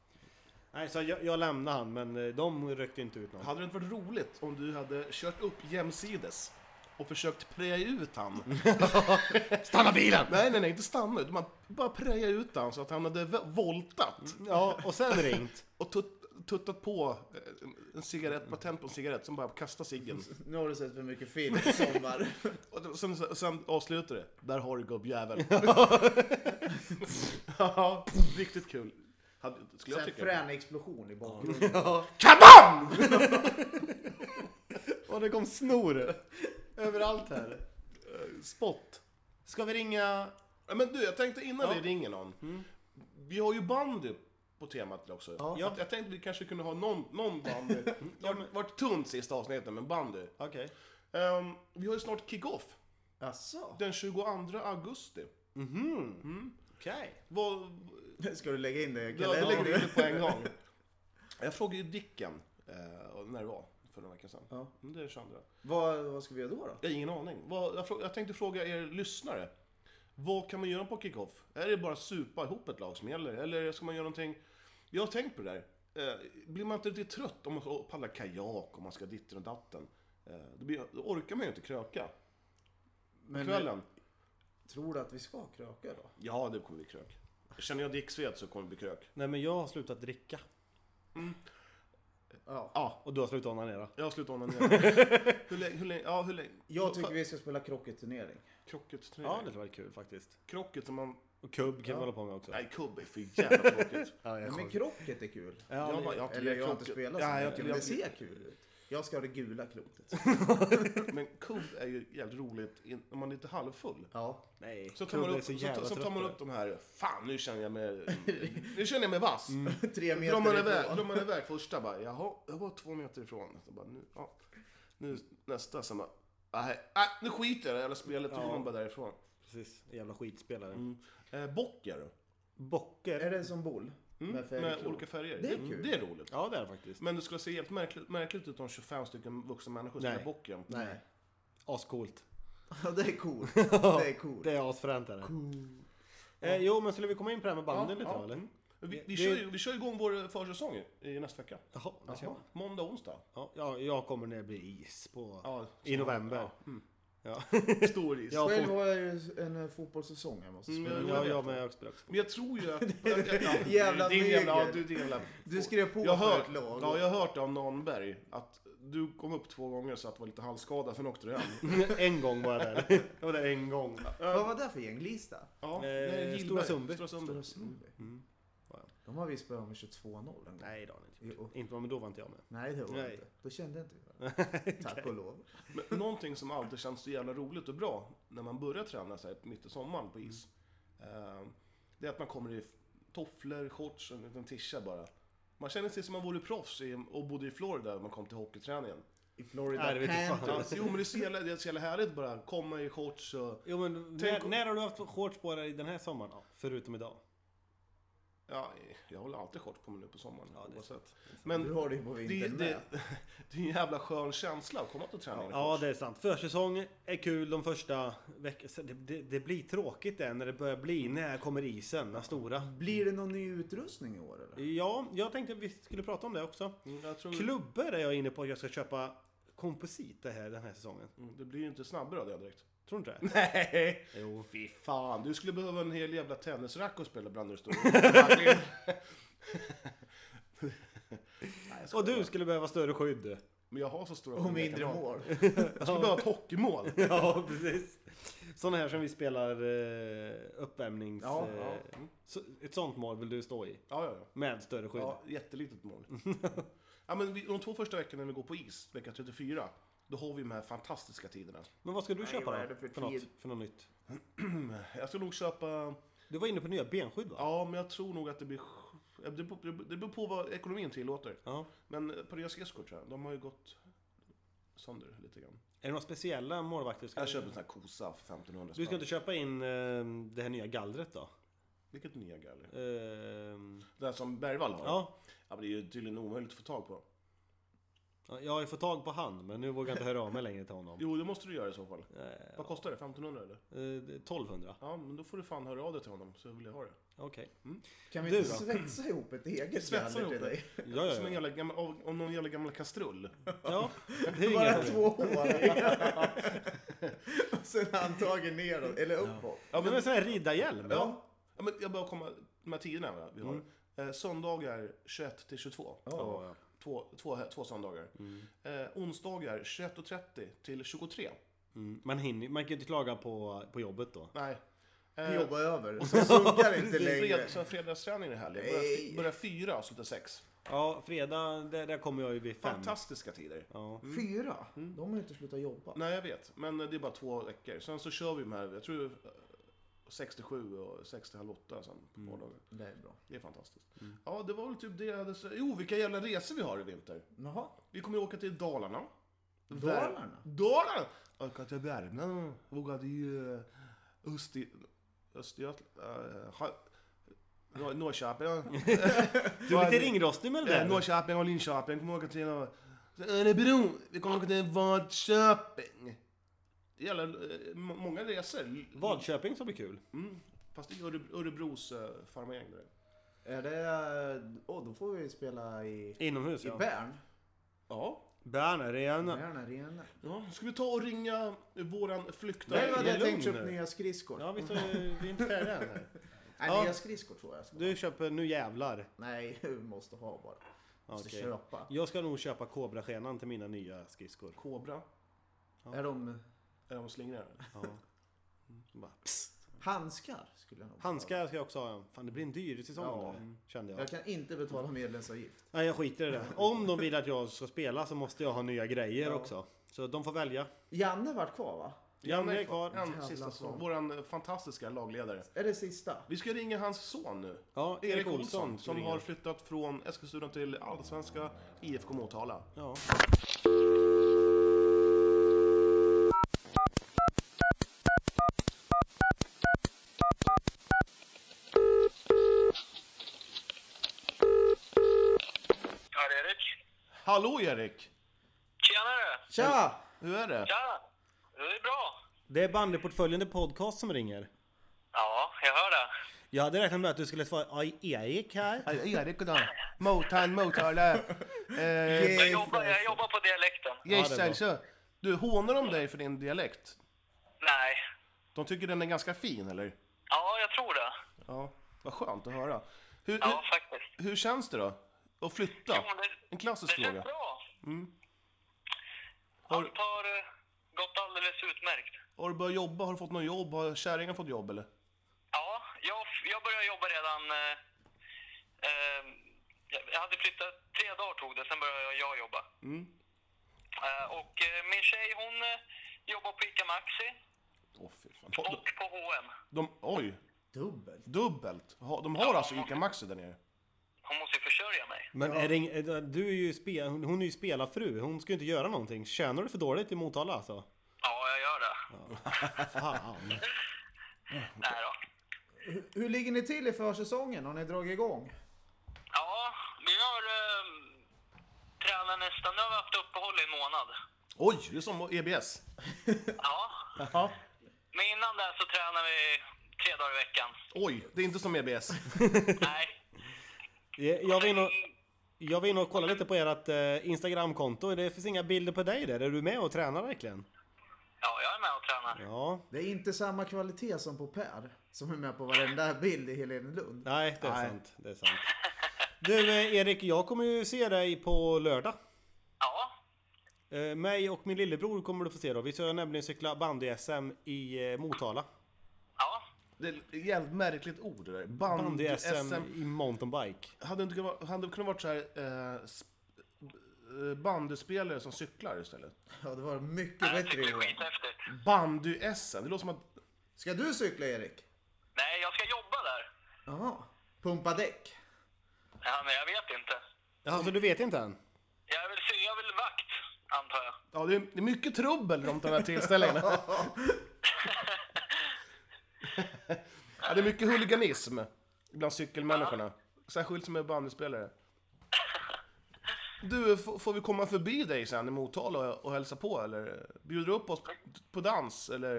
Nej, så jag, jag lämnade han men eh, de rökte inte ut någon. Hade det inte varit roligt om du hade kört upp jämsides och försökt preja ut han? (laughs) stanna bilen! Nej, nej, nej, inte stanna utan man bara preja ut han så att han hade v- voltat Ja, och sen ringt. och tut- tuttat på eh, en- en cigarett, patent på en cigarett som bara kastar ciggen. Nu har du sett för mycket film i (laughs) sommar. Och då- sen, sen avslutar det. Där har (laughs) du gubbjäveln. (laughs) ja, riktigt kul. Hade- Skulle Så jag här tycka. frän explosion i bakgrunden. KABAM! (laughs) Och det kom snor. Överallt här. Spott. Ska vi ringa... Mm. Ja, Men du, jag tänkte innan vi ringer någon. Vi har ju bandy på temat också. Ja. Mm. Att Jag tänkte vi kanske kunde ha någon, någon bandy. Det har varit tunt sista avsnittet med bandy. Okej. Ehm, vi har ju snart kick-off. Jaså? Den 22 augusti. Mhm. Mm. Okej. Vad, Ska du lägga in det i Ja, det lägger vi kalendern? ut på (laughs) en gång. Jag frågade ju Dicken eh, och när det var, för några veckor sedan. Ja. Mm, Det är 22. Vad, vad ska vi göra då? då? Jag har ingen aning. Vad, jag, frå, jag tänkte fråga er lyssnare. Vad kan man göra på kickoff? Är det bara supa ihop ett lag som gäller? Eller ska man göra någonting? Jag har tänkt på det där. Eh, blir man inte riktigt trött om man ska paddla kajak, om man ska ditten och datten? Eh, då, blir, då orkar man ju inte kröka. Men, eh, Kvällen? Tror du att vi ska kröka då? Ja, det kommer bli krök. Känner jag dicksved så kommer det bli krök. Nej men jag har slutat dricka. Ja. Ja, Och du har slutat onanera. jag har slutat onanera. (laughs) hur länge? Hur länge? Ja, hur länge? Jag tycker vi ska spela krocketturnering. Krocket Ja, det var kul faktiskt. krocket som man Och kubb kan vi hålla på med också. Nej, kubb är för jävla tråkigt. Ja, jag Men sjuk. krocket är kul. Ja, Jag bara, men- jag har inte Eller jag har lirat inte krocket. spelat så Ja, jag har mycket, inte men det lirat- ser kul ut. Jag ska ha det gula (laughs) klotet. Men kubb är ju jävligt roligt in- när man är lite halvfull. Ja. Nej, Så tar, man kubb är upp, så så, jävla så tar man trött upp de här, fan nu känner jag mig, (laughs) nu känner jag mig vass. Tre Drar man, meter iväg, drar ifrån. man iväg första bara, jaha, jag var två meter ifrån. Så bara, nu, ja. nu nästa, sen bara, nej, nej, nu skiter jag i det jävla spelet, då Ja. går man bara därifrån. Precis, jävla skitspelare. Eh, bocker, Är Bocker. det en sån boll? Mm, Med färgklot? med olika färger. Det är Mm, kul. det är roligt. Ja, det är det faktiskt. Men det skulle se helt märkligt, märkligt ut om 25 stycken vuxna människor spelar Nej. bocken. Nej. (laughs) Ascoolt. Ja, det är (laughs) coolt. Det är coolt. Det är asfränt är det. Eh, jo, men skulle vi komma in på det här med banden lite ja. då eller? Mm. Vi, Det- vi, kör, det- ju- vi kör igång vår eh, försäsong i- i nästa vecka. Jaha, det ser man. Måndag, onsdag. Ja, ja, jag kommer när det blir is på... Ja, I november. Ja. Stor is. Ja, Själv fot- har jag ju en eh, fotbollssäsong jag måste spela. Mm, ja, (laughs) jag med. Jag spelar också. Men jag tror (laughs) ju att... Jävla din jävla, ja, neger. du, din jävla Du skrev på jag för hört, ett lag. Ja, jag har hört det av Nanberg. Att du kom upp två gånger så att du var lite halvskadad, sen åkte du hem. en gång var jag (laughs) där. Jag var där en gång. Vad var det för gäng? Lista? Ja, Eh, nej, Gillberg. Stora Sundby. Stora Sundby. De har visst börjat med 22-0 en gång. Nej, det har ni Jo. inte. Inte men då var inte jag med. Nej, det var Nej. Nej. inte. Då kände jag inte det. Tack och lov. Men någonting som alltid känns så jävla roligt och bra när man börjar träna så här mitt i sommaren på is. eh, Det är att man kommer i tofflor, shorts och en liten tisha bara. Man känner sig som man vore proffs i, och bodde i Florida när man kom till hockeyträningen. I Florida Nej, det vet jag fan. Ja, Panthers. jo men det är så jävla, det är så jävla härligt bara komma i shorts och... Jo, men Tänk när, om- när har du haft shorts på dig den här sommaren? Ja, förutom idag. Ja, jag håller alltid shorts på mig nu på sommaren Ja, det är oavsett. Men Du har det ju på det, vintern det, med. (laughs) det är en jävla skön känsla att komma till träningen i Ja, shorts. det är sant. Försäsong är kul de första veckorna. Det, det, det blir tråkigt det när det börjar bli. När kommer isen? Den stora. Blir det någon ny utrustning i år eller? Ja, jag tänkte att vi skulle prata om det också. Mm, Jag tror, Klubbor är jag inne på att jag ska köpa komposit det här den här säsongen. Mm, det blir ju inte snabbare av det direkt. Tror du inte det? Nej! Jo. Fy fan, du skulle behöva en hel jävla tennisrack att spela bland nu (laughs) stor. Och du skulle behöva större skydd. Men jag har så stora Och skinn jag mindre kan ha. mål. Jag skulle (laughs) behöva ett hockeymål. Ja, precis. Sådana här som vi spelar eh, uppvärmnings... Ja, eh, ja. Mm. Så, ett sånt mål vill du stå i? Ja, ja, ja. Med större skydd? Ja, jättelitet mål. ja, men vi, de två första veckorna när vi går på is, vecka 34, då har vi de här fantastiska tiderna. Men vad ska du köpa vad då? är det för något, tid? för något nytt? Jag ska nog köpa... Du var inne på nya benskydd va? Ja, men jag tror nog att det blir... sj- Det beror på, det beror på vad ekonomin tillåter. Ja. Men på deras skridskor tror jag, de har ju gått sönder lite grann. Är det några speciella målvakter? du Ska Jag köper en sån här kosa för 1500 Du ska spänn. inte köpa in eh, det här nya gallret då? Vilket nya galler? Ehm, Det här som Bergvall har? ja. ja men det är ju tydligen omöjligt att få tag på. ja. Jag har ju fått tag på han, men nu vågar jag inte höra av mig längre till honom. Jo, det måste du göra i så fall. Eh, Vad kostar det? 1500 eller? eh, 1200? Ja, men då får du fan höra av dig till honom så vill jag ha det. Okej. (laughs) Kan vi Du inte då? svetsa ihop ett eget Svetsa galler till ihop det. dig? Ja, ja, Som ja. en jävla gammal, av- av någon jävla gammal kastrull. (laughs) ja. Det är Bara inga problem. två hål. (laughs) Och sen handtagen neråt, eller uppåt. Ja, Men men, en sån här riddarhjälm? ja. ja, men jag bara komma de här tiderna va, vi har. Eh, söndagar 21 till 22. Mm. Ja, Mm. ja. Två, två, två söndagar. Eh, onsdagar 21.30 till 23. Mm. Man, hinner, man kan ju inte klaga på, på jobbet då. Nej. Vi Eh, jobbar över. Så (laughs) sunkar inte längre. fred, så fredagsträningen är härlig. Nej. Börjar, börjar fyra och slutar sex. Ja, fredag, där, där kommer jag ju vid fem. Fantastiska tider. Ja. Fyra? De har ju inte slutat jobba. Nej, jag vet. Men det är bara två veckor. Sen så kör vi de här, jag tror eh, 67 och 60 halv åtta sen på vardagar. Det är bra. Det är fantastiskt. Ja, det var väl typ det jag hade... så- Jo, vilka jävla resor vi har i vinter. Jaha. Vi kommer åka till Dalarna. Vär- Dalarna? Dalarna! Åka till Värmland. Åka till eh, Öster... Östergötland... eh, Ha- Nå- Norrköping. Du är lite ringrostig med det Eh, där. Norrköping och Linköping kommer åka till och- Örebro. Vi kommer åka till Vadköping. Det gäller eh, må- många resor. L- Vadköping som blir kul. Mm. Fast det är Örebro, Örebros eh, farmagäng. där. Är det... eh, Åh, då får vi spela i... Inomhus I ja. Bern? Ja. Bern arena. Bern Arena. ja. Ska vi ta och ringa våran flyktare? Där hade jag lugn tänkt köpa nu. nya skridskor. Ja, visst är vi är inte färdiga än här. Nej, Ja. nya skridskor tror jag. jag Ska. Du köper nu jävlar. Nej, (laughs) vi måste ha bara. Måste Okej. köpa. Jag ska nog köpa kobraskenan till mina nya skridskor. Kobra. Är de... Är de slingriga? Ja. Bara, psst. Handskar skulle jag nog betala. Handskar ska jag också ha en. Fan det blir en dyr säsong Ja. nu, kände jag. Jag kan inte betala medlemsavgift. Nej jag skiter i det. Om de vill att jag ska spela så måste jag ha nya grejer också. Så de får välja. Janne vart kvar va? Janne är kvar. En sista Jävla säsong. fan. Vår fantastiska lagledare. Är det sista? Vi ska ringa hans son nu. Ja, Erik Olsson, ska som ringa. har flyttat från Eskilstuna till Allsvenska IFK Motala. Ja. Per-Erik? Hallå Erik! Tjenare! Tja! Hur är det? Tja! Det är bra. Det är bandyportföljen The Podcast som ringer. Ja, jag hör det. Jag hade räknat med att du skulle svara "Aj, Erik här. Erik och Dan. Motan, Motala. Jag jobbar, jag jobbar på dialekten. Ja, det är bra. alltså. Du, hånar de dig för din dialekt? Nej. De tycker den är ganska fin, eller? Ja, jag tror det. Ja. Vad skönt att höra. Hur, Ja, faktiskt. hur, hur känns det då? Att flytta? Jo, det- Mm. En Det klassisk känns fråga. Mm. bra. Har, Allt har eh, gått alldeles utmärkt. har du börjat jobba? Har du fått något jobb? Har kärringen fått jobb, eller? Ja, jag, jag började jobba redan... Eh, eh, jag hade flyttat... Tre dagar tog det, sen började jag- jag jobba. Mm. Eh, och eh, min tjej, hon eh, jobbar på ICA Maxi Åh, fy fan. och på H&M. De, oj, Dubbelt. dubbelt. Ha- De har alltså ICA Maxi där nere. Hon måste ju försörja mig. Men är det, ing- du är ju spe, hon hon är ju spelarfru. Hon ska ju inte göra någonting. Tjänar du för dåligt i Motala alltså? Ja, jag gör det. Fan. Nej då. Hur, hur ligger ni till i försäsongen? Har ni dragit igång? Ja, vi har eh, tränat nästan... Nu har vi haft uppehåll i en månad. Oj, det är som E EBS. Ja. Men innan det så tränar vi tre dagar i (laughs) veckan. Oj, det är inte som E EBS. Nej. Mm. Jag jag var inne och, jag var inne och kollade lite på ert eh, Instagramkonto. Det finns inga bilder på dig där. Är du med och tränar verkligen? Ja, jag är med och tränar. Ja. Det är inte samma kvalitet som på Per, som är med på varenda bild i Helenelund. Nej, det är Nej. sant. Det är sant. Du eh, Erik, jag kommer ju se dig på lördag. Ja, Eh, mig och min lillebror kommer du få se då. Vi ska nämligen cykla bandy-SM i eh, Motala. ja. Det är ett jävligt märkligt ord det där. Bandy-SM Bandy-SM. i mountainbike. Hade det inte kunnat vara- hade det kunnat vara så här eh, sp- eh, bandyspelare som cyklar istället? Ja, det var mycket Nej, Jag bättre tycker det är Johan. skithäftigt. Bandy-SM, det låter som att... Ska du cykla Erik? Nej, jag ska jobba där. Jaha. Pumpa däck? Ja, men jag vet inte. Jaha, så du vet inte än? Jag vill, sy- jag vill vakt, antar jag. Ja, det är, det är mycket trubbel runt de här tillställningarna. ja, det är mycket huliganism bland cykelmänniskorna. Särskilt som är bandyspelare. Du, f- får vi komma förbi dig sen i Motala och, och hälsa på eller? Bjuder du upp oss på, på dans eller?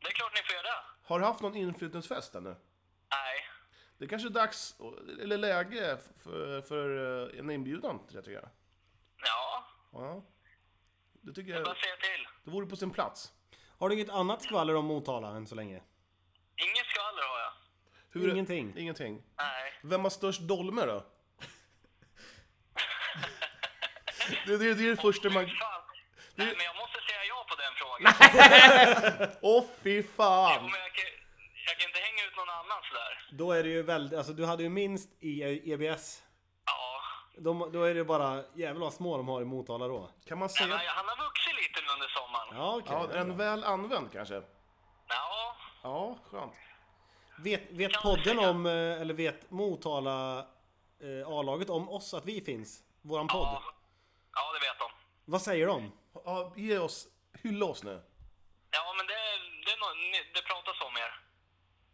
Det är klart ni får göra det. Har du haft någon inflyttningsfest ännu? Nej. Det är kanske är dags, eller läge, f- för, för eh, en inbjudan till det tycker jag. Ja, Ja. Det tycker bara jag, säga till. det vore på sin plats. Har du inget annat skvaller om Motala än så länge? Inget skvaller har jag. Hur- Ingenting. Ingenting. Nej. Vem har störst dolme då? Det, det, det är det första man... Fan. Nej, men jag måste säga ja på den frågan. Åh fy fan! Men jag, kan, jag kan inte hänga ut någon annan sådär. Då är det ju väldigt, alltså du hade ju minst i eh, EBS. Ja. De, då är det bara jävlar vad små de har i Motala då. Kan man Men säga... han, han har vuxit lite nu under sommaren. Ja. Ja, okej. Ja, en väl använd kanske? Ja, skönt. Vet, vet Kan podden försöka. om, eh, eller vet Motala eh, A-laget om oss, att vi finns? Våran podd. ja. Ja, det vet de. Vad säger de? Ja, ge oss... Hylla oss nu. Ja, men det, det, är nå- ni- det pratas om er.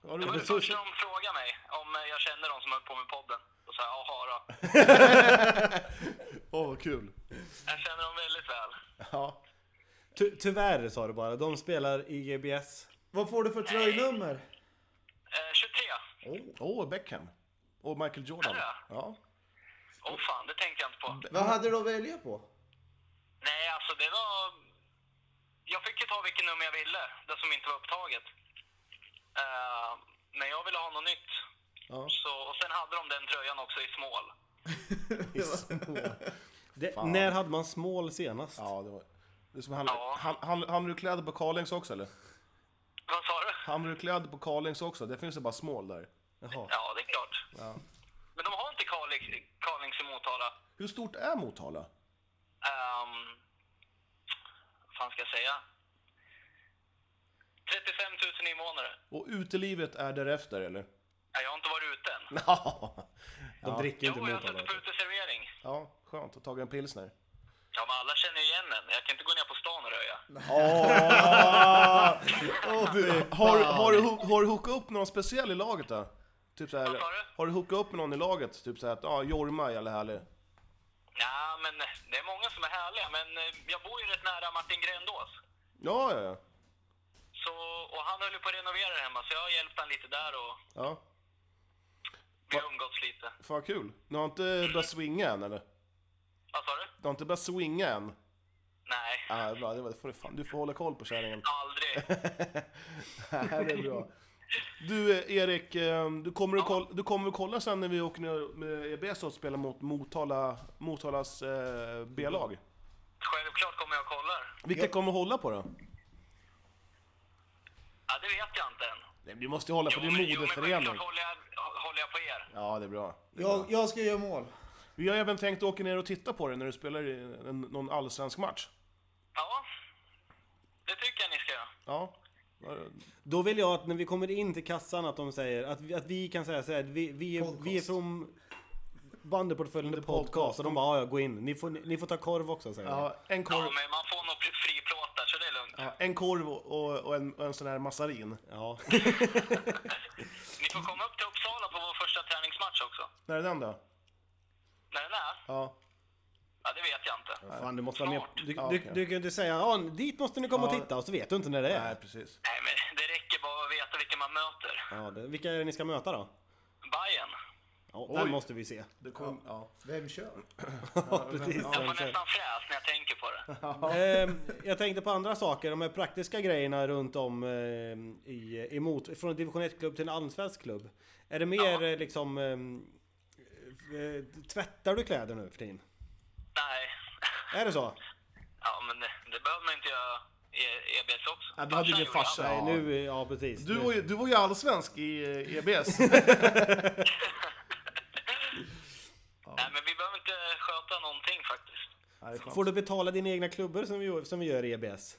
Ja, Det var du, det första de frågade mig, om eh, jag kände de som höll på med podden. Då sa jag, jaha då. Åh, vad kul. Jag känner dem väldigt väl. Ja. Ty, tyvärr sa du bara, de spelar i EBS. Vad får du för tröjnummer? Eh, 23. Åh, oh, Beckham. Och Michael Jordan. Ja. Ja. Åh oh, fan, det tänkte jag inte på. Vad hade du att välja på? Nej, alltså det var... Jag fick ju ta vilket nummer jag ville, det som inte var upptaget. Eh, men jag ville ha något nytt. Ja. Så, och sen hade de den tröjan också i small. Det, när hade man small senast? Ja, det var... Det är som han, Ja. han, han, han, du kläder på Carlings också eller? Vad sa du? Han blev klädd på Karlings också, det finns ju bara smål där. Jaha. Ja, det är klart. Ja. Men de har inte Kalix, Kalix i Motala. Hur stort är Motala? Ehm, vad fan ska jag säga? 35 000 invånare. Och utelivet är därefter eller? (laughs) Ja, jag har inte varit ute än. Ja, De dricker inte Jo, jag har Motala. suttit på uteservering. ja skönt, och tagit en pilsner. Ja, men alla känner ju igen en. Jag kan inte gå ner på stan och röja. Åh! Du, har, har, du hook- har du hookat upp någon speciell i laget då? Typ så här, Vad sa du? har du hookat upp med någon i laget? Typ så här att, ja, Jorma är jävla härlig. Ja, men det är många som är härliga. Men eh, jag bor ju rätt nära Martin Grändås. Ja, ja, ja. Så, och han höll ju på att renovera hemma, så jag har hjälpt han lite där och ja. vi har umgåtts lite. Fan vad kul. Du har inte börjat swinga än eller? Vad sa du? Du har inte börjat swinga än? Nej, Ja, det är bra. Det var- det får du, fan, du får hålla koll på kärringen. (laughs) aldrig. Nej, det är bra. Du eh, Erik, eh, du kommer, att kolla, du kommer att kolla sen när vi åker ner med EBS och spelar mot Motala, Motalas eh, B-lag. Självklart kommer jag och kollar. Vilka kommer att hålla på då? Ja, det vet jag inte än. Nej, Du måste ju hålla på din men- men moderförening. självklart håller jag, håller jag på er. Ja, det är bra. Jag, jag ska göra mål. Vi har även tänkt åka ner och titta på dig när du spelar i en, någon allsvensk match. Ja, det tycker jag ni ska göra. Ja. Då vill jag att när vi kommer in till kassan att de säger att vi, att vi kan säga så här, att vi, vi, är, vi är från bandyportföljen The Podcast. Och de bara, "Ja, ja, gå in. Ni får, ni får ta korv också säger de. ja en, Ja, korv, men man får nog fri- fri plåt där, så det är lugnt. ja, en korv och, och, och, en, och en sån här massarin. Ja. Ni får komma upp till Uppsala på vår första träningsmatch också. När är den då? När den är? Ja. Ja, det vet jag inte. Fan, du måste vara med. Du, Ja, du, okej. du kan ju inte säga, ja, dit måste ni komma och titta och så vet du inte när det är. Nej, precis. Nej, men det räcker bara att veta vilka man möter. Ja, det, vilka är det ni ska möta då? Bayern. Ja, där Oj. måste vi (laughs) se. Det kom, ja. Vem kör? Ja, precis. Jag får nästan fräs när jag tänker på det. Ehm, jag tänkte på andra saker, de här praktiska grejerna runt om ehm, i, emot, från en division 1-klubb till en allsvensk klubb. Är det mer eh, liksom... ehm, eh, tvättar du kläder nu för tiden? Nej. (laughs) Är det så? Ja, men det, det behöver man inte göra i i EBS också. Ja, du hade Farsan ingen gjorde farsa. allt. Nej, Ja. nu, eh, ja precis. Du Nu- var, ju, du var ju allsvensk i eh, (laughs) EBS. (laughs) Nej, men vi behöver inte sköta någonting faktiskt. Nej, fan. Får du betala dina egna klubbor som vi, gör- som vi gör i EBS?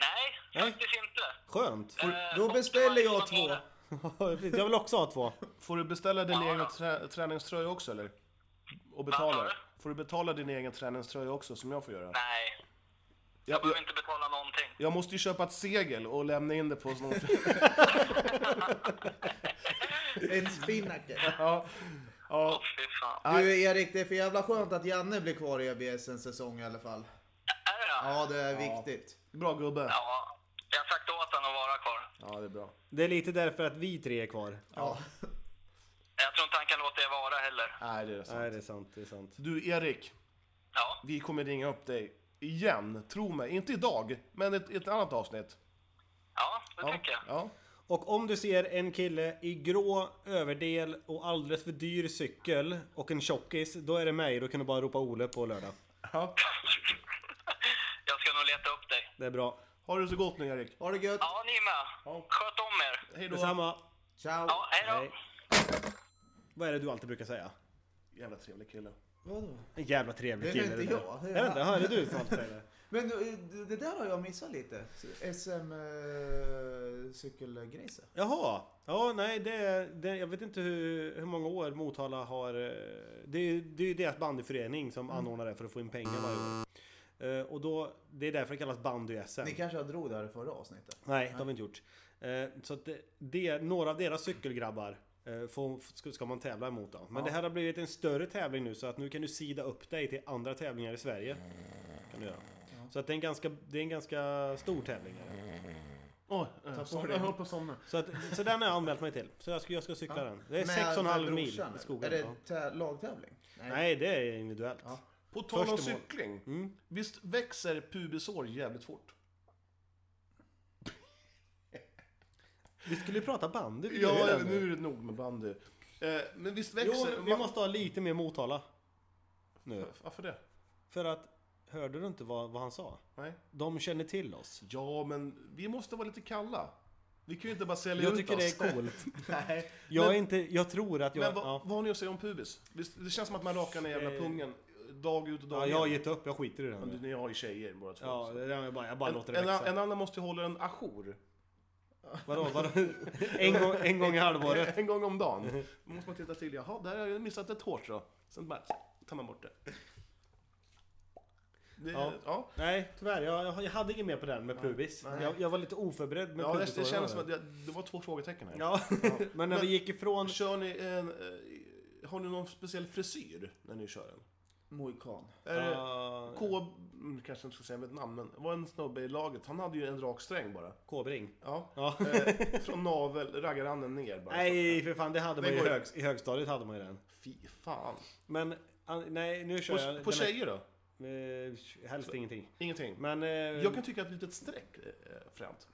Nej, Nej. faktiskt inte. Skönt! Eh, Då måste beställer man- jag man två. vara- Ja, precis. jag vill också ha två. Får du beställa din Ja, egen ja. trä, träningströja också eller? Och Vad sa betala? du? Får du betala din egen träningströja också som jag får göra? Nej, Jag, jag jag, behöver inte betala någonting. jag måste ju köpa ett segel och lämna in det på (laughs) någon... En spinnaker. (laughs) ja. Åh, ja. fy fan. Du Erik, det är för jävla skönt att Janne blir kvar i EBS en säsong i alla fall. Är det det? Ja, det är viktigt. Bra gubbe. Ja. Jag har sagt åt honom att vara kvar. Ja, det är bra. Det är lite därför att vi tre är kvar. Ja. Jag tror inte han kan låta er vara heller. Nej, det är sant. Nej, det är sant, det är sant. Du Erik, Ja, vi kommer ringa upp dig igen. Tro mig. Inte idag, men ett, ett annat avsnitt. ja det Ja. tycker jag. ja. Och om du ser en kille i grå överdel och alldeles för dyr cykel och en tjockis, då är det mig. Då kan du bara ropa Ole på lördag. ja. (laughs) Jag ska nog leta upp dig. Det är bra. Ha det så gott nu Erik. Ha det gött. Ja, ni är med. Sköt om er. Hej då. Detsamma. Ciao. Ja, hej då. Hej. Vad är det du alltid brukar säga? Jävla trevlig kille. Vadå? En jävla trevlig Det är kille. inte där. jag. Det är Jag vet inte, han. hör det du som alltid säger det? Men eh, det där har jag missat lite. SM eh, cykelgrejset. Jaha. Ja, nej, det, är- det, jag vet inte hur, hur många år Motala har... eh, Det, är- det är ju deras bandyförening som Mm. anordnar det för att få in pengar varje år. Eh, Och då, det är därför det kallas bandy-SM. Ni kanske jag drog det här i förra avsnittet? Nej, det har vi inte gjort. Eh, Så att det, det, några av deras cykelgrabbar eh, får, ska- ska man tävla emot då. Men det här har blivit en större tävling nu så att nu kan du sida upp dig till andra tävlingar i Sverige. Kan du göra. Så att det är en ganska, det är en ganska stor tävning. är det. Oj, eh, jag, som, jag höll på att somna. Så, att, så den har jag anmält mig till. Så jag ska, jag ska cykla den. Det är Med- sex och en med halv mil brorsan, i Är skogen. det ja. tä- lagtävling? Nej, det är individuellt. På tal om Först i mål. cykling. Visst växer pubisår jävligt fort? Vi skulle ju prata bandy. vi gör ju Ja, det ja, nu. nu är det nog med bandy. Eh, men visst Jo, växer... vi måste ha lite mer Motala. Nu. Varför det? För att, hörde du inte vad, vad han sa? Nej. De känner till oss. Ja, men vi måste vara lite kalla. Ni kan ju inte bara sälja Jag ut tycker oss. det är coolt. Nej. Jag, är inte, jag tror att jag... Men vad, ja. vad har ni att säga om pubis? Visst, det känns som att man rakar den jävla Eh, pungen dag ut och dag ja, in. jag har gett upp, jag skiter i det här Ja, du- nu. Ni har ju tjejer båda två. Ja, så. det där med bara, jag bara en, låter det en, växa. en annan måste ju hålla den ajour. (laughs) Vadå, vadå? En gång, en gång i halvåret? En gång (laughs) om dagen. Då måste man titta till. Jaha, där har jag missat ett hårt då. Sen bara tar man bort det. det Ja. ja. ja. Nej, tyvärr. Jag, jag hade inget mer på den med pubis. Nej. Jag, jag var lite oförberedd med Ja, det, pubisåren. det känns som var att det, det var två frågetecken här. Ja, (laughs) men när vi gick ifrån... Kör ni en... eh, Har ni någon speciell frisyr när ni kör den? Mohikan. Är det- Ah, K... mm, Kanske inte ska säga mitt namn, men det var en snubbe i laget. Han hade ju en rak sträng bara. K-bring. Ja. Ja. Eh, från navel, raggaranden ner bara. Nej, för fan. Det hade man Det ju i, går ju. hög, i högstadiet. hade man ju den. Fy fan. Men an- nej, nu kör På, jag... på den här- tjejer då? Eh, helst ingenting. Ingenting. Men eh, Jag kan tycka att ett litet streck är fränt.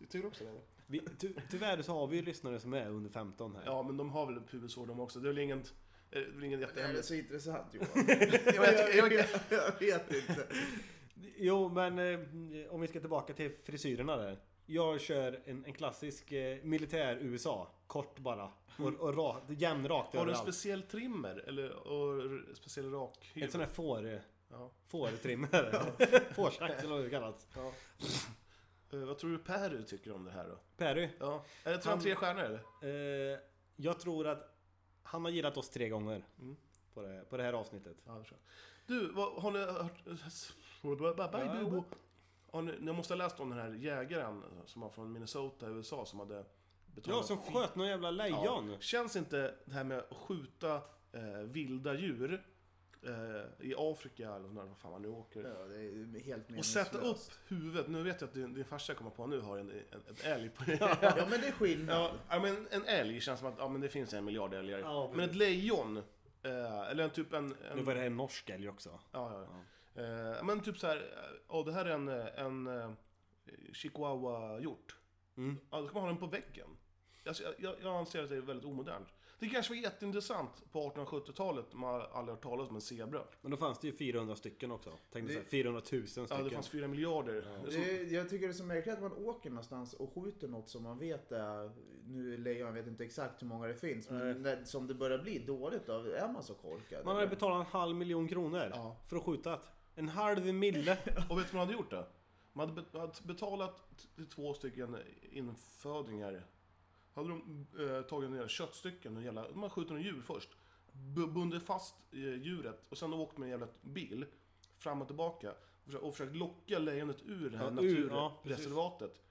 Ty- Tycker du också det? vi, ty, tyvärr så har vi ju lyssnare som är under 15 här. Ja, men de har väl pubisår de också. Det är väl inget, eh, det är väl inget Det här är jättehemligt. så (laughs) intressant Johan. jag, jag, jag, jag, jag vet inte. Jo, men eh, om vi ska tillbaka till frisyrerna där. Jag kör en, en klassisk eh, militär-USA. Kort bara. Och, och ra, jämnrakt Mm. Har du en överallt. speciell trimmer? Eller och r- speciell rakhyvel? Ett sån här får... Ja. Fårtrimmer. (laughs) (laughs) Fårsax eller vad det kallas. Eh, Vad tror du Perry tycker om det här då? Perry. Ja. Är det tror Han- han tre stjärnor eller? Eh, jag tror att han har gillat oss tre gånger. På, det, på det här avsnittet. Mm. Ja, det tror jag. Du, vad, har ni hört... Har ni, ni måste ha läst om den här jägaren som var från Minnesota, USA, som hade betalat... Ja, som skit. sköt någon jävla lejon. Ja. Känns inte det här med att skjuta eh, vilda djur eh, i Afrika eller när vad fan man nu åker. Ja, det är ju helt Och meningslöst. sätta upp huvudet, nu vet jag att din, din farsa kommer på nu har en, en, en (laughs) älg på Ja men det är skillnad. Ja, ja, men en älg känns som att ja, men det finns en miljard älgar. Ja, men ett lejon, eh, eller en typ en... Nu en var det här en norsk älg också. ja, ja. Eh, men typ så här, eh, åh, det här är en, eh, en eh, chihuahua-hjort. Mm. Ja, då ska man ha den på väggen. Alltså, jag- jag, jag anser att det är väldigt omodernt. Det kanske var jätteintressant på 1870-talet, man har aldrig hört talas om en zebra. Men då fanns det ju 400 stycken också. Tänkte Det- så här, 400 000 Ja, stycken. det fanns fyra miljarder. Så- Det är, jag tycker det är så märkligt att man åker någonstans och skjuter något som man vet är, nu är lejon, jag vet inte exakt hur många det finns, men när, som det börjar bli dåligt av, är man så korkad? Man hade eller? betalat en halv miljon kronor Ja. för att skjuta. ett. En halv mille. Och vet du vad man hade gjort då? Man hade be- man hade betalat t- till två stycken infödingar. Hade de eh, tagit några köttstycken, och jävla, man skjuter en djur först. Bu- Bundit fast eh, djuret och sen åkt med en jävla bil fram och tillbaka. Och försökt, och försökt locka lejonet ur det här Ja, ur, ja, precis. naturreservatet.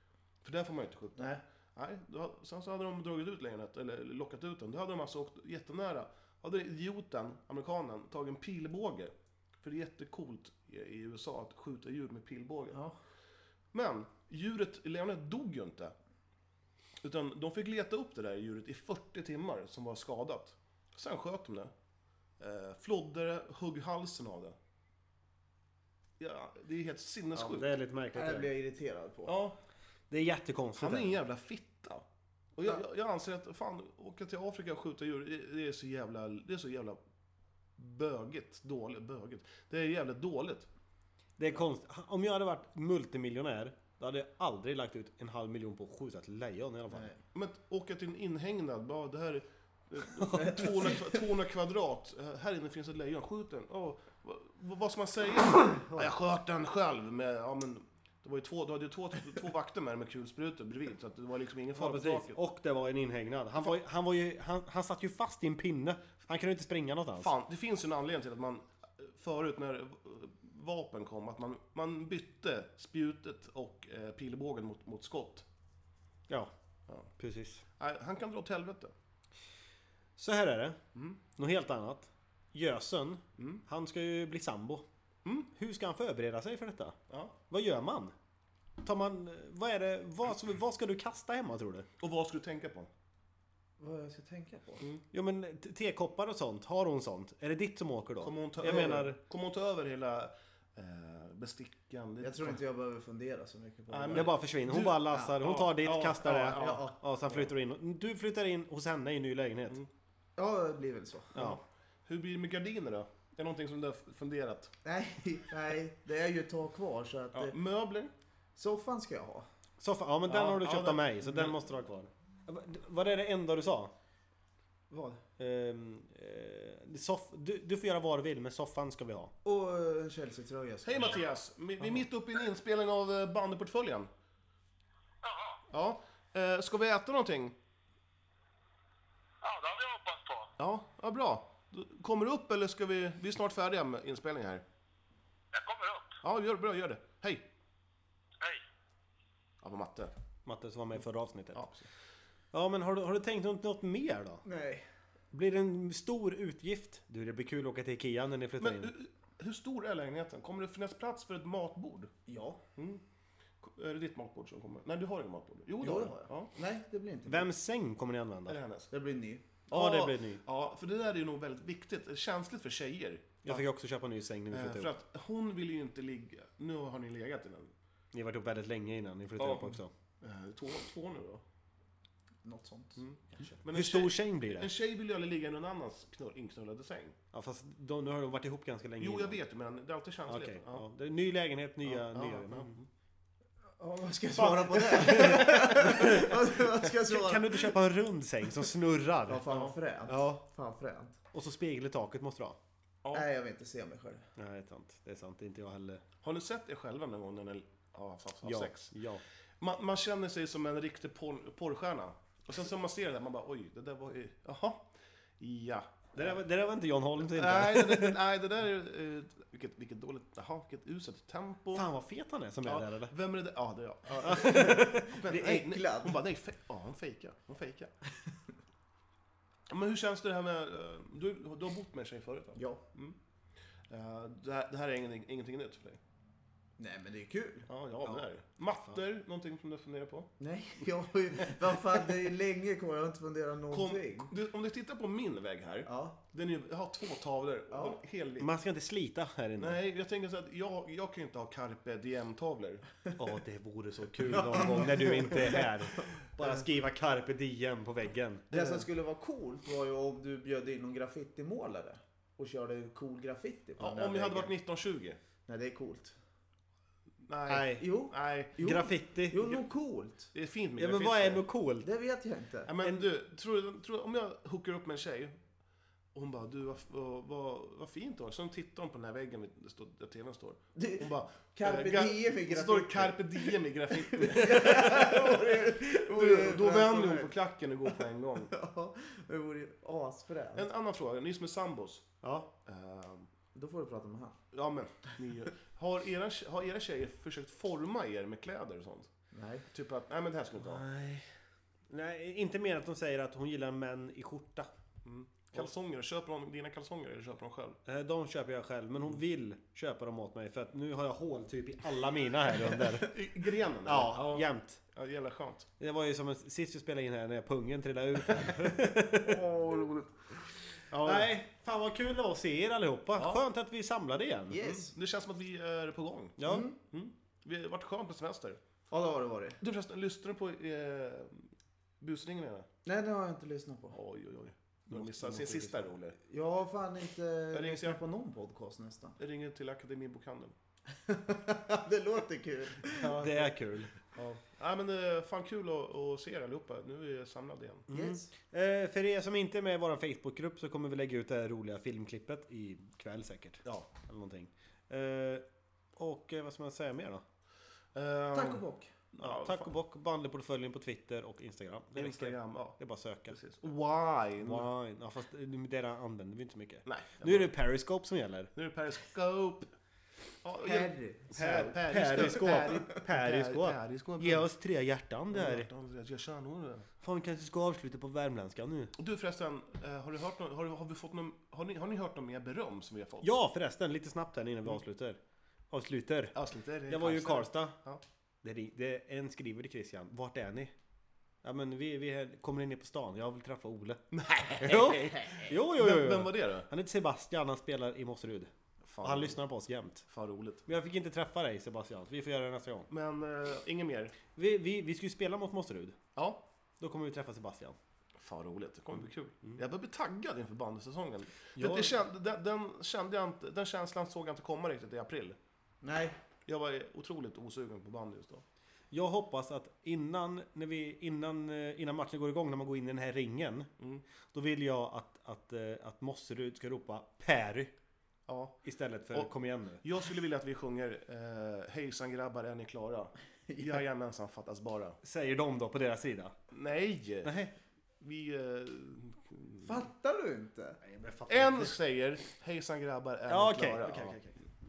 För där får man ju inte skjuta. Nej. Nej, då, sen så hade de dragit ut lejonet, eller lockat ut den. Då hade de alltså åkt jättenära. Då hade idioten, amerikanen, tagit en pilbåge. För det är jättecoolt i, i USA att skjuta djur med pilbåge. Ja. Men djuret, lejonet dog ju inte. Utan de fick leta upp det där djuret i 40 timmar som var skadat. Sen sköt de det. Eh, flodde det, hugg halsen av det. Ja, det är helt Ja, sinnessjukt. det är lite märkligt. Det här blir det. jag irriterad på. Ja, Det är jättekonstigt. han är en det. jävla fitta. Och jag, jag, jag anser att fan, åka till Afrika och skjuta djur, det- det är så jävla, det är så jävla bögigt. Dåligt, bögigt. Det är jävligt dåligt. det är konstigt. Han- Om jag hade varit multimiljonär, då hade jag aldrig lagt ut en halv miljon på att skjuta ett lejon i alla fall. Nej. Men att åka till en inhägnad, bara (laughs) det här är eh, 200, kva- 200 kvadrat, Eh, här inne finns ett lejon, skjut den. Åh, vad, vad ska (clears throat) man säga? Ja, jag sköt den själv med, ja men, det var ju två, du hade ju två, två vakter med dig med kulsprutor bredvid, så att det var liksom ingen Ja, fara på precis. taket. Och det var en inhägnad. Han, var, ju- han, var ju, han, han satt ju fast i en pinne. Han kunde inte springa någonstans. Fan, det finns ju en anledning till att man eh, förut när eh, vapen kom, att man, man bytte spjutet och eh, pilbågen mot, mot skott. Ja, Ja. precis. Nej, han kan dra åt helvete. Så här är det. Mm. Något helt annat. Gösen, han ska ju bli sambo. Hur ska han förbereda sig för detta? Mm. Ja. Vad gör man? Tar man... Vad är det... Vad, ska- vad ska du kasta hemma tror du? Och vad ska du tänka på? Vad jag ska tänka på? Mm. Jo men te- tekoppar och sånt, har hon sånt? Är det ditt som åker då? Kommer hon ta jag över, menar... kommer hon ta över hela eh, bestickan? Jag tror inte jag behöver fundera så mycket på Nej, det. Det bara försvinner. Hon Du- bara lassar. Hon ja, tar ditt, ja, kastar ja, det. ja, Ja, ja. Mm. sen flyttar du in. Du flyttar in hos henne i en ny lägenhet. Ja, det blir väl så. Ja. Hur blir det med gardiner då? Är det någonting som du har f- funderat? Nej, nej, det är ju ett tag kvar så att... Ja. eh, Möbler? Soffan ska jag ha. Soffa, ja men den Ja, har du ja, Mm. köpt av den- mig, så den måste du ha kvar. Vad är det enda du sa? Vad? Ehm, eh, soff, du, du får göra vad du vill, men soffan ska vi ha. Och eh, en Chelsea-tröja. Hej Mattias! Vi vi är mitt uppe i en inspelning av eh, bandyportföljen. Jaha. Ja. Eh, Ska vi äta någonting? Ja, det hade jag hoppats på. Ja, ja bra. Då- Kommer du upp eller ska vi... Vi är snart färdiga med inspelningen här. Jag kommer upp. Ja, gör, bra, gör det. Hej! Hej. Ja, på matte. Matte som var med i förra avsnittet. Ja, Ja, precis. men har du, har du tänkt något, något mer då? Nej. Blir det en stor utgift? Du, det blir kul att åka till Ikea när ni flyttar Men eh, in. hur, hur stor är lägenheten? Kommer det finnas plats för ett matbord? Ja. Ko- Är det ditt matbord som kommer? Nej, du har inget matbord. Jo, det Jo, har det du. har jag. Ja. Nej, det blir inte Vems säng kommer ni Är det använda? hennes? Det blir en ny. Ja, det blir ny. Ja, för det där är ju nog väldigt viktigt. Känsligt för tjejer. Jag fick också köpa en ny säng när vi Eh, flyttade För ihop. att hon vill ju inte ligga... Nu har ni legat i den. Ni har varit ihop väldigt länge innan ni flyttade Ja. ihop också. Eh, Två, två nu då. Något sånt. Men Hur en tjej- stor säng blir En det? tjej vill ju aldrig ligga i någon annans knull, inknullade säng. Ja, fast de, nu har de varit ihop ganska länge Jo, jag innan. vet ju, men det är alltid känsligt. Okej, Ja. ja. Det är Ny lägenhet, nya... Ja, nya. Mm. ja. Ja, vad ska jag svara på det? (laughs) Vad- vad ska jag svara? Kan, kan du inte köpa en rund säng som snurrar? Ja, fan vad fränt. Ja. Fan fränt. Och så spegel i taket måste du ha. Ja. Nej, jag vill inte se mig själv. Nej, det är sant. Det är sant. Det är inte jag heller. Har ni sett er själva någon gång när ni har haft, haft Ja. sex? ja. Man, man känner sig som en riktig porr, porrstjärna. Och sen så man ser det där, man bara oj, det där var ju... Jaha. Ja. Det, där, var- det där var inte John Holmes inte. Nej, det, det, nej, det där är ju... eh, Vilket, vilket dåligt... Jaha, vilket uselt tempo. Fan vad fet han är som är där Ja, eller? vem är det där? Ja, det är jag. Men, nej, Blir nej. äcklad. Hon bara, nej, fe- ja, hon fejkar. Hon fejkar. Men hur känns det här med... eh, Du, du har bott med en tjej förut, va? Ja. Eh, Det här, det här är ingenting, ingenting nytt för dig? Nej, men det är kul. Ja, ja, men det är det. Matter, någonting som du funderar på? Nej, (laughs) jag har ju... Vad fan, det är länge kvar. Jag har inte funderat Kom, någonting. du, om du tittar på min vägg här. Ja. Den är, ju- jag har två tavlor. Ja. Ja. Helvitt. Man ska inte slita här inne. Nej, jag tänker så att jag, jag kan ju inte ha carpe diem-tavlor. Ja, det vore så kul någon gång när du inte är (laughs) här. Bara skriva carpe diem på väggen. Det som skulle vara coolt var ju om du bjöd in någon graffitimålare och körde cool graffiti på den Ja, där om jag hade varit väggen. 1920. Nej, det är coolt. Nej. Nej. Jo. Nej. Jo. Graffiti. Jo, nog coolt. Det är fint med ja, men graffiti. vad är något coolt? Det vet jag Ja, inte. men du, tror, du- tror, om jag hookar upp med en tjej och hon bara, du vad, vad, vad, vad fint du har. Sen tittar hon på den här väggen vid- står- där tvn står. Du, Hon bara, Carpe eh, ga- diem i så Står det carpe graffiti. diem i (laughs) graffiti. Oj, Du, då oj, vänder oj. hon på klacken och går på en gång. (laughs) Ja, det vore ju asfränt. En annan fråga, ni som är sambos. Ja. Ehm, Då får du prata med han. ja men, ni, har, era, har era tjejer försökt forma er med kläder och sånt? Nej. Typ att, nej men det här ska du inte ha. Nej. Nej, inte mer att de säger att hon gillar män i skjorta. Kalsonger, köper hon dina kalsonger eller köper hon själv? Eh, De köper jag själv, men hon vill köpa dem åt mig för att nu har jag hål typ i alla mina här under. I grenen? eller? (laughs) Ja, jämt. ja. Jävla skönt. Det var ju som en, sist vi spelade in här när pungen trillade ut. Åh, roligt. Ja. Nej, fan vad kul det var att se er allihopa. Ja. Skönt att vi är samlade igen. Yes. Det känns som att vi är på gång. Ja. Vi har varit skönt på semester. Ja, det har det varit. Du förresten, lyssnar du på eh, busringen? eller? Nej, det har jag inte lyssnat på. Oj, oj, oj. Du har missat sin sista rolig. Jag har fan inte ringer lyssnat jag. på någon podcast nästan. (laughs) Jag ringer till Akademibokhandeln. det låter kul. Det är kul. Ja. Nej, men det är fan kul att, att se er allihopa. Nu är vi samlade igen. Yes. Eh, för er som inte är med i vår Facebookgrupp så kommer vi lägga ut det här roliga filmklippet ikväll säkert. Ja. Eller någonting. Eh, och eh, vad ska man säga mer då? Ehm, Tack och bock. Ja, Tack fan. och bock, bandyportföljen på Twitter och Instagram. Det räcker. Instagram, ja. Det är bara att söka. Precis. Wine. Wine. Ja, fast eh, det där använder vi inte så mycket. Nej. Nu är det Periscope som gäller. Nu är det Periscope. Ja, ja. Harry. Per- Periscope. Peri- Periscope. Periscope. Ge oss tre hjärtan där. Jag kör nog det. Fan, vi kanske ska avsluta på värmländska nu. Du förresten, eh, har, du hört någon, har, du, har, vi fått någon, har, ni, har ni hört något mer beröm som vi har fått? Ja förresten, lite snabbt här innan vi avslutar. Avslutar. Avslutar det Jag var ju i Karlstad. Ja. Det ring, det, en skriver till Christian. Vart är ni? Ja men vi, vi är- kommer ni ner på stan? Jag vill träffa (laughs) Ole. Nej! Jo, jo, jo, jo. Vem, vem var det då? Han heter Sebastian, han spelar i Mosserud. Fan, Och han lyssnar på oss jämt. Fan roligt. Men jag fick inte träffa dig Sebastian, så vi får göra det nästa gång. Men eh, inget mer? Vi, vi, vi ska ju spela mot Mosserud. Ja. Då kommer vi träffa Sebastian. Fan roligt, det kommer bli kul. Jag börjar bli taggad inför bandysäsongen. Ja. Det, det känd, den, den, kände jag inte, den känslan såg jag inte komma riktigt i april. Nej. Jag var otroligt osugen på bandy just då. Jag hoppas att innan, när vi, innan, eh, innan matchen går igång, när man går in i den här ringen. Då vill jag att, att, eh, att Mosserud ska ropa Perry Ja. istället för Och- kom igen nu. Jag skulle vilja att vi sjunger eh, Hejsan grabbar, är ni (laughs) klara? Jajamensan, fattas bara. Säger de då på deras sida. Nej! Nej. Vi... Eh, Fattar du inte? en säger Hejsan grabbar, är Ja ni okej, klara? okej, Ja. okej.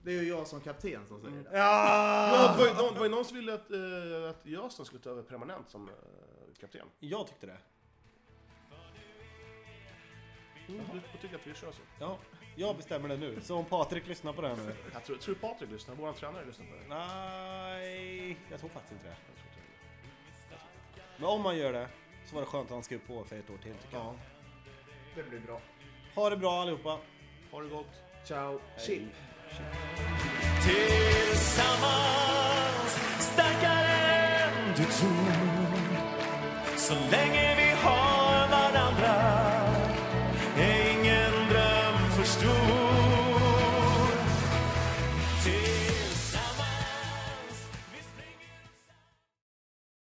Det är ju jag som kapten som säger det. Ja, det var ju någon- det var ju någon som ville att, eh, att jag som skulle ta över permanent som eh, kapten. Jag tyckte det. Mm, du tycker att vi kör så? Ja, jag bestämmer det nu. Så om Patrik lyssnar på det här nu. Jag tror, tror Patrik lyssnar, vår tränare lyssnar på det. Nej, jag tror faktiskt inte det. Men om man gör det så var det skönt att han skrev på för ett år till tycker jag. Det blir bra. Ha det bra allihopa. Ha det gott! Ciao. Chip. Tillsammans starkare än du tror Så länge vi har